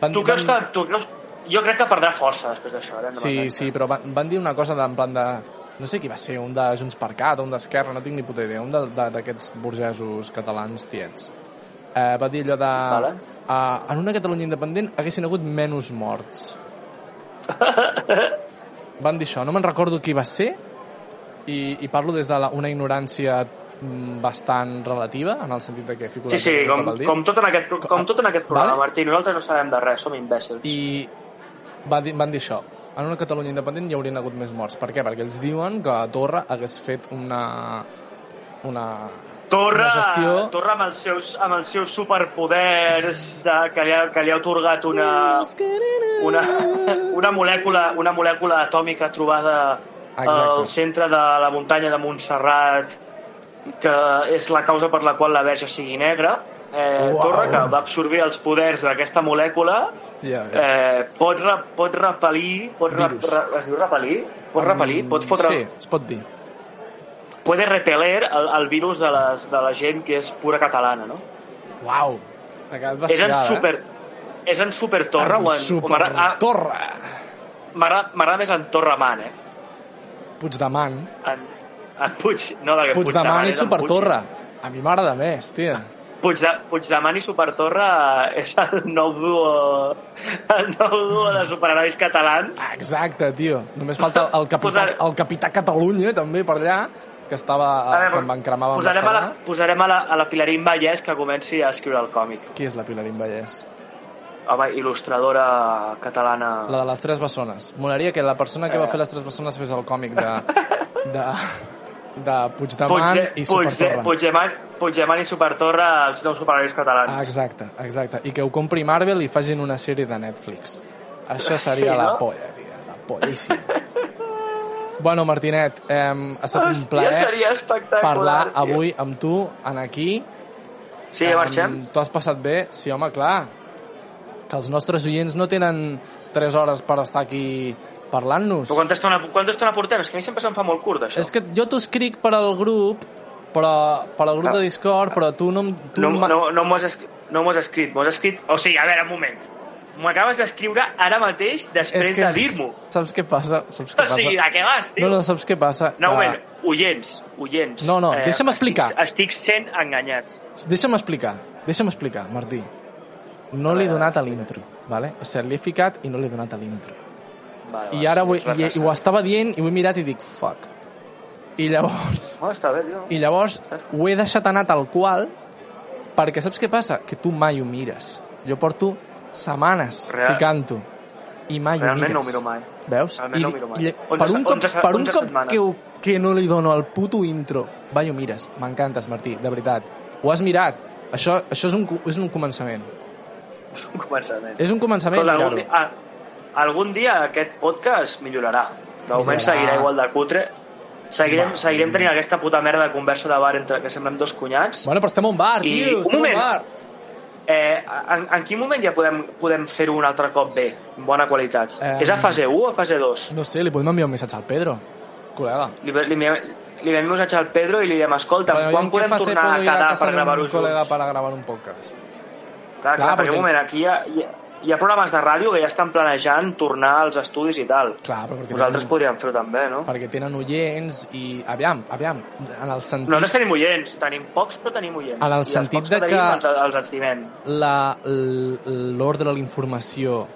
[SPEAKER 1] Van,
[SPEAKER 2] tu creus que...
[SPEAKER 1] van-
[SPEAKER 2] Tu creus, jo crec que perdrà força després d'això. eh? la
[SPEAKER 1] Sí,
[SPEAKER 2] independència.
[SPEAKER 1] sí, però van, van dir una cosa d'en plan de... No sé qui va ser, un de Junts per Cat, un d'Esquerra, no tinc ni puta idea, un de- de- d'aquests burgesos catalans tiets. Eh, va dir allò de...
[SPEAKER 2] Vale.
[SPEAKER 1] Eh, en una Catalunya independent haguessin hagut menys morts. van dir això, no me'n recordo qui va ser, i, i parlo des de la, una ignorància mm, bastant relativa, en el sentit de que fico
[SPEAKER 2] Sí,
[SPEAKER 1] la
[SPEAKER 2] sí,
[SPEAKER 1] gent
[SPEAKER 2] com,
[SPEAKER 1] cap al dit.
[SPEAKER 2] com, tot en aquest, com tot en aquest programa,
[SPEAKER 1] Vale.
[SPEAKER 2] vale? Martí, nosaltres no sabem de res, som imbècils. I...
[SPEAKER 1] i va dir, van dir això en una Catalunya independent hi haurien hagut més morts per què? perquè ells diuen que Torra hagués fet una una una
[SPEAKER 2] Torra,
[SPEAKER 1] gestió
[SPEAKER 2] Torra amb els seus, amb els seus superpoders de, que, li ha, que li ha otorgat una, una, una, molècula, una molècula atòmica trobada
[SPEAKER 1] Exacte.
[SPEAKER 2] al centre de la muntanya de Montserrat que és la causa per la qual la verge sigui negra. Eh,
[SPEAKER 1] Uau.
[SPEAKER 2] Torra, que va absorbir els poders d'aquesta molècula,
[SPEAKER 1] ja ves.
[SPEAKER 2] Eh, pot, re, pot repel·lir... Pot re,
[SPEAKER 1] Virus.
[SPEAKER 2] re, es diu repel·lir? Pot
[SPEAKER 1] Mm,
[SPEAKER 2] repel·lir? Pot fotre...
[SPEAKER 1] sí, es pot dir
[SPEAKER 2] Puede repeler el, el virus de, les, de la gent que és pura catalana, no?
[SPEAKER 1] uau ha quedat
[SPEAKER 2] és en
[SPEAKER 1] bestial,
[SPEAKER 2] super... És en Super Torra
[SPEAKER 1] eh? en
[SPEAKER 2] o en... ah.
[SPEAKER 1] super
[SPEAKER 2] Super...
[SPEAKER 1] Torra
[SPEAKER 2] M'agrada més en Torraman, eh?
[SPEAKER 1] Puigdemant
[SPEAKER 2] En, en Puig... No, perquè
[SPEAKER 1] Puigdemant i
[SPEAKER 2] és en
[SPEAKER 1] super
[SPEAKER 2] Puig.
[SPEAKER 1] Torra a mi m'agrada més, tia
[SPEAKER 2] Puigde, Puigdemant i Supertorra eh, és el nou duo... El nou duo de superherois catalans.
[SPEAKER 1] Exacte, tio. Només falta el capità,
[SPEAKER 2] Posar-
[SPEAKER 1] el capità Catalunya, també, per allà, que estava
[SPEAKER 2] A
[SPEAKER 1] veure,
[SPEAKER 2] veure,
[SPEAKER 1] Ah, quan van cremar a
[SPEAKER 2] posarem, a la,
[SPEAKER 1] Barcelona?
[SPEAKER 2] posarem a la, a la Pilarín Vallès que comenci a escriure el còmic.
[SPEAKER 1] Qui és la Pilarín Vallès?
[SPEAKER 2] Home, il·lustradora catalana...
[SPEAKER 1] La de les tres bessones. Molaria que la persona que va fer les tres bessones fes el còmic de... de... de Puigdemont
[SPEAKER 2] Puigde,
[SPEAKER 1] i
[SPEAKER 2] Puigde,
[SPEAKER 1] Supertorre.
[SPEAKER 2] Puigdemont, Puigdemont i Supertorre, els nous superherois
[SPEAKER 1] Ah,
[SPEAKER 2] catalans.
[SPEAKER 1] Exacte, exacte. I que ho compri Marvel i facin una sèrie de Netflix. Això seria
[SPEAKER 2] Ah, Sí,
[SPEAKER 1] la
[SPEAKER 2] no?
[SPEAKER 1] polla, tia. La pollíssima. bueno, Martinet, eh, ha estat un
[SPEAKER 2] Hòstia,
[SPEAKER 1] plaer
[SPEAKER 2] seria espectacular.
[SPEAKER 1] parlar
[SPEAKER 2] tio.
[SPEAKER 1] avui amb tu, en aquí.
[SPEAKER 2] Sí, ja marxem.
[SPEAKER 1] Em, T'ho has passat bé? Sí, home, clar. Que els nostres oients no tenen 3 hores per estar aquí parlant-nos.
[SPEAKER 2] Però quanta estona, quanta estona portem? És que a mi sempre se'm fa molt curt, això.
[SPEAKER 1] És que jo t'ho escric per al grup, però, per al grup de Discord, però tu no... em- Tu
[SPEAKER 2] No,
[SPEAKER 1] em-
[SPEAKER 2] no, no m'ho has, escri- no m'ho has escrit, m'ho has escrit... O sigui, a veure, un moment. M'acabes d'escriure ara mateix després
[SPEAKER 1] És que-
[SPEAKER 2] de dir-m'ho.
[SPEAKER 1] Saps què passa? Saps
[SPEAKER 2] O
[SPEAKER 1] què
[SPEAKER 2] sigui,
[SPEAKER 1] passa?
[SPEAKER 2] de què vas, tio?
[SPEAKER 1] No, no, saps què passa?
[SPEAKER 2] No, un
[SPEAKER 1] Que-
[SPEAKER 2] moment, oients, oients. Eh,
[SPEAKER 1] No, no, deixa'm explicar.
[SPEAKER 2] Estic, estic sent enganyats.
[SPEAKER 1] Deixa'm explicar, deixa'm explicar, Martí. No
[SPEAKER 2] A
[SPEAKER 1] l'he
[SPEAKER 2] veure.
[SPEAKER 1] donat a l'intro, vale? O sigui, l'he ficat i no l'he donat a l'intro.
[SPEAKER 2] Vale,
[SPEAKER 1] I ara ho, he- i, i ho
[SPEAKER 2] estàs...
[SPEAKER 1] estava dient i ho he mirat i dic, fuck. I llavors,
[SPEAKER 2] No, està bé, tio.
[SPEAKER 1] i llavors ho he deixat anar tal qual perquè saps què passa? Que tu mai ho mires. Jo porto setmanes
[SPEAKER 2] Real-
[SPEAKER 1] ficant-ho i mai
[SPEAKER 2] Realment
[SPEAKER 1] ho mires.
[SPEAKER 2] no ho miro mai.
[SPEAKER 1] Veus?
[SPEAKER 2] Realment no ho miro mai.
[SPEAKER 1] lle-
[SPEAKER 2] Onze
[SPEAKER 1] per
[SPEAKER 2] se-
[SPEAKER 1] un cop,
[SPEAKER 2] onze se-
[SPEAKER 1] per un
[SPEAKER 2] onze
[SPEAKER 1] cop
[SPEAKER 2] setmanes.
[SPEAKER 1] que, ho- que no li dono el puto intro, va i ho mires. M'encantes, Martí, de veritat. Ho has mirat. Això, això és, un, co- és un començament.
[SPEAKER 2] És un començament.
[SPEAKER 1] És un començament
[SPEAKER 2] Escolta, algun,
[SPEAKER 1] mirar-ho.
[SPEAKER 2] dia, ah, algun dia aquest podcast millorarà. De moment
[SPEAKER 1] Millorarà.
[SPEAKER 2] seguirà igual de cutre. Seguirem,
[SPEAKER 1] Va.
[SPEAKER 2] seguirem tenint aquesta puta merda de conversa de bar entre que semblem dos cunyats.
[SPEAKER 1] Bueno, però estem a un bar,
[SPEAKER 2] I-
[SPEAKER 1] tio,
[SPEAKER 2] un
[SPEAKER 1] estem a un
[SPEAKER 2] moment.
[SPEAKER 1] bar.
[SPEAKER 2] Eh, en, en quin moment ja podem, podem fer-ho un altre cop bé, amb bona qualitat?
[SPEAKER 1] Em.
[SPEAKER 2] És a fase 1 o a fase 2?
[SPEAKER 1] Eh, No sé, li podem enviar un missatge al Pedro, col·lega.
[SPEAKER 2] Li, li, li, li vam missatge al Pedro i li diem, escolta,
[SPEAKER 1] Però
[SPEAKER 2] quan
[SPEAKER 1] en què
[SPEAKER 2] podem
[SPEAKER 1] fase
[SPEAKER 2] tornar
[SPEAKER 1] puedo
[SPEAKER 2] a
[SPEAKER 1] ir
[SPEAKER 2] quedar
[SPEAKER 1] casa
[SPEAKER 2] per
[SPEAKER 1] de un
[SPEAKER 2] gravar-ho
[SPEAKER 1] col·lega
[SPEAKER 2] junts?
[SPEAKER 1] per gravar un podcast? Clar,
[SPEAKER 2] Clar, clar, perquè
[SPEAKER 1] perquè-
[SPEAKER 2] un moment, aquí hi ha, hi, ha, hi ha programes de ràdio que ja estan planejant tornar als estudis i tal.
[SPEAKER 1] Clar, però perquè
[SPEAKER 2] Vosaltres
[SPEAKER 1] tenen,
[SPEAKER 2] podríem fer-ho també, no?
[SPEAKER 1] perquè tenen oients i... Aviam, aviam, en el sentit...
[SPEAKER 2] Nosaltres tenim oients, tenim pocs, però tenim oients.
[SPEAKER 1] En el
[SPEAKER 2] I
[SPEAKER 1] sentit
[SPEAKER 2] els pocs
[SPEAKER 1] de
[SPEAKER 2] que... Tenim,
[SPEAKER 1] que-
[SPEAKER 2] els, els estimem.
[SPEAKER 1] la- l- l'ordre de la informació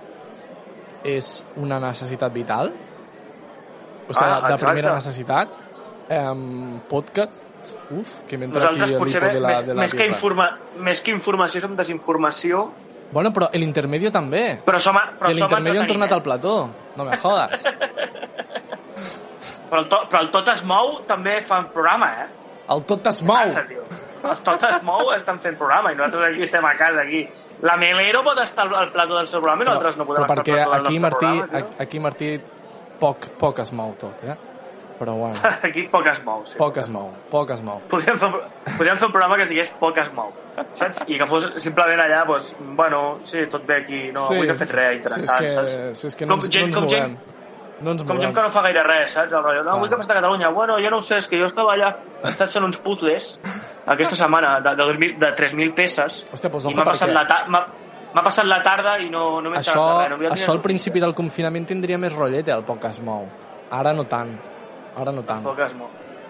[SPEAKER 1] és una necessitat vital o sigui,
[SPEAKER 2] Ah,
[SPEAKER 1] de
[SPEAKER 2] exacte.
[SPEAKER 1] primera necessitat um, podcasts uf, que m'entra aquí
[SPEAKER 2] Nosaltres
[SPEAKER 1] el
[SPEAKER 2] potser
[SPEAKER 1] hipo de la,
[SPEAKER 2] més,
[SPEAKER 1] de la
[SPEAKER 2] més, que
[SPEAKER 1] birra.
[SPEAKER 2] informa, més que informació som desinformació,
[SPEAKER 1] bueno, però l'intermedio també
[SPEAKER 2] però som, a- tota
[SPEAKER 1] i
[SPEAKER 2] però som
[SPEAKER 1] l'intermedio han tornat
[SPEAKER 2] entreteniment.
[SPEAKER 1] al plató no me jodas
[SPEAKER 2] eh? Però, el to, però el Tot es mou també fan programa, eh?
[SPEAKER 1] el tot es
[SPEAKER 2] Passa,
[SPEAKER 1] mou
[SPEAKER 2] tio. Els Tot es mou estan fent programa i nosaltres aquí estem a casa, aquí. La Melero pot estar al- al plató del seu programa i nosaltres no podem estar al
[SPEAKER 1] perquè
[SPEAKER 2] plató del
[SPEAKER 1] aquí
[SPEAKER 2] nostre
[SPEAKER 1] Martí,
[SPEAKER 2] programa. tio.
[SPEAKER 1] aquí Martí poc, poc es mou tot eh? però bueno,
[SPEAKER 2] Aquí poc es mou, sí.
[SPEAKER 1] poc es mou poc es mou
[SPEAKER 2] Podríem fer, podríem fer un programa que es digués Poc es mou, saps? I que fos simplement allà, doncs, bueno, sí, tot bé aquí, no,
[SPEAKER 1] Sí.
[SPEAKER 2] avui no he fet res interessant,
[SPEAKER 1] si és que,
[SPEAKER 2] saps?
[SPEAKER 1] Si és que no,
[SPEAKER 2] com,
[SPEAKER 1] ens,
[SPEAKER 2] gent,
[SPEAKER 1] no
[SPEAKER 2] com,
[SPEAKER 1] ens
[SPEAKER 2] gent,
[SPEAKER 1] movem. No ens
[SPEAKER 2] com
[SPEAKER 1] movem.
[SPEAKER 2] gent que no fa gaire res, saps? El rotllo, no, avui
[SPEAKER 1] Clar.
[SPEAKER 2] que passa a Catalunya? Bueno, jo no ho sé, és que jo estava allà, he estat fent uns puzzles aquesta setmana de, de, 2000, de 3.000 peces
[SPEAKER 1] Hòstia, doncs,
[SPEAKER 2] i
[SPEAKER 1] ojo,
[SPEAKER 2] m'ha passat,
[SPEAKER 1] perquè
[SPEAKER 2] la ta- m'ha- m'ha passat la tarda i no, no m'he
[SPEAKER 1] això,
[SPEAKER 2] enterat de res. No havia
[SPEAKER 1] això al principi del confinament tindria més rotllete, el poc que es mou. Ara no tant. Ara no tant.
[SPEAKER 2] Poc es mou.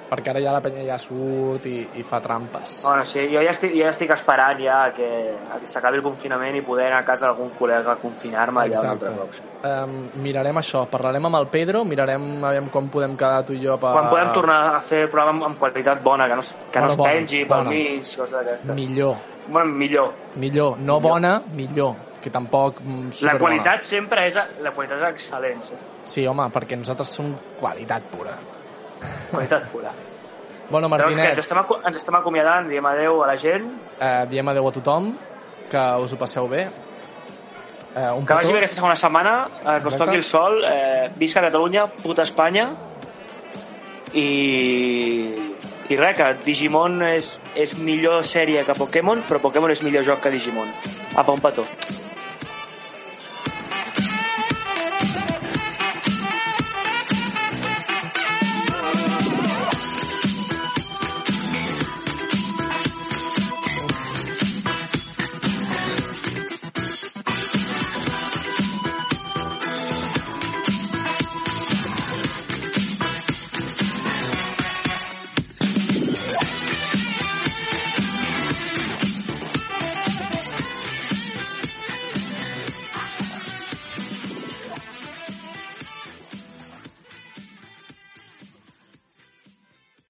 [SPEAKER 1] Perquè ara ja la penya ja surt i, i fa trampes.
[SPEAKER 2] Bueno, sí, jo ja estic, ja estic esperant ja a que, a que s'acabi el confinament i poder anar a casa d'algun col·lega a confinar-me allà un altre cop.
[SPEAKER 1] Um, mirarem això, parlarem amb el Pedro, mirarem aviam com podem quedar tu i jo per...
[SPEAKER 2] Quan podem tornar a fer el programa amb, amb qualitat bona, que no, es- que no
[SPEAKER 1] Ah. Bona,
[SPEAKER 2] es pengi
[SPEAKER 1] bona,
[SPEAKER 2] pel
[SPEAKER 1] bona.
[SPEAKER 2] mig, coses d'aquestes.
[SPEAKER 1] Millor,
[SPEAKER 2] Bueno, millor.
[SPEAKER 1] millor. No bona, millor. Que tampoc... mm,
[SPEAKER 2] La
[SPEAKER 1] superbona.
[SPEAKER 2] qualitat sempre és... La qualitat és excel·lent, sí.
[SPEAKER 1] Sí, home, perquè nosaltres som qualitat pura.
[SPEAKER 2] qualitat pura.
[SPEAKER 1] Bueno,
[SPEAKER 2] Llavors, que ens
[SPEAKER 1] Martinet,
[SPEAKER 2] estem, aco- ens estem acomiadant, diem adeu a la gent,
[SPEAKER 1] eh, diem adeu a tothom, que us ho passeu bé. Eh, un
[SPEAKER 2] que vagi
[SPEAKER 1] petó.
[SPEAKER 2] bé aquesta segona setmana, eh, que us
[SPEAKER 1] Exacte.
[SPEAKER 2] toqui el sol, eh, visca Catalunya, puta Espanya, i, i res, que Digimon és, és millor sèrie que Pokémon, però Pokémon és millor joc que Digimon. Apa, un petó.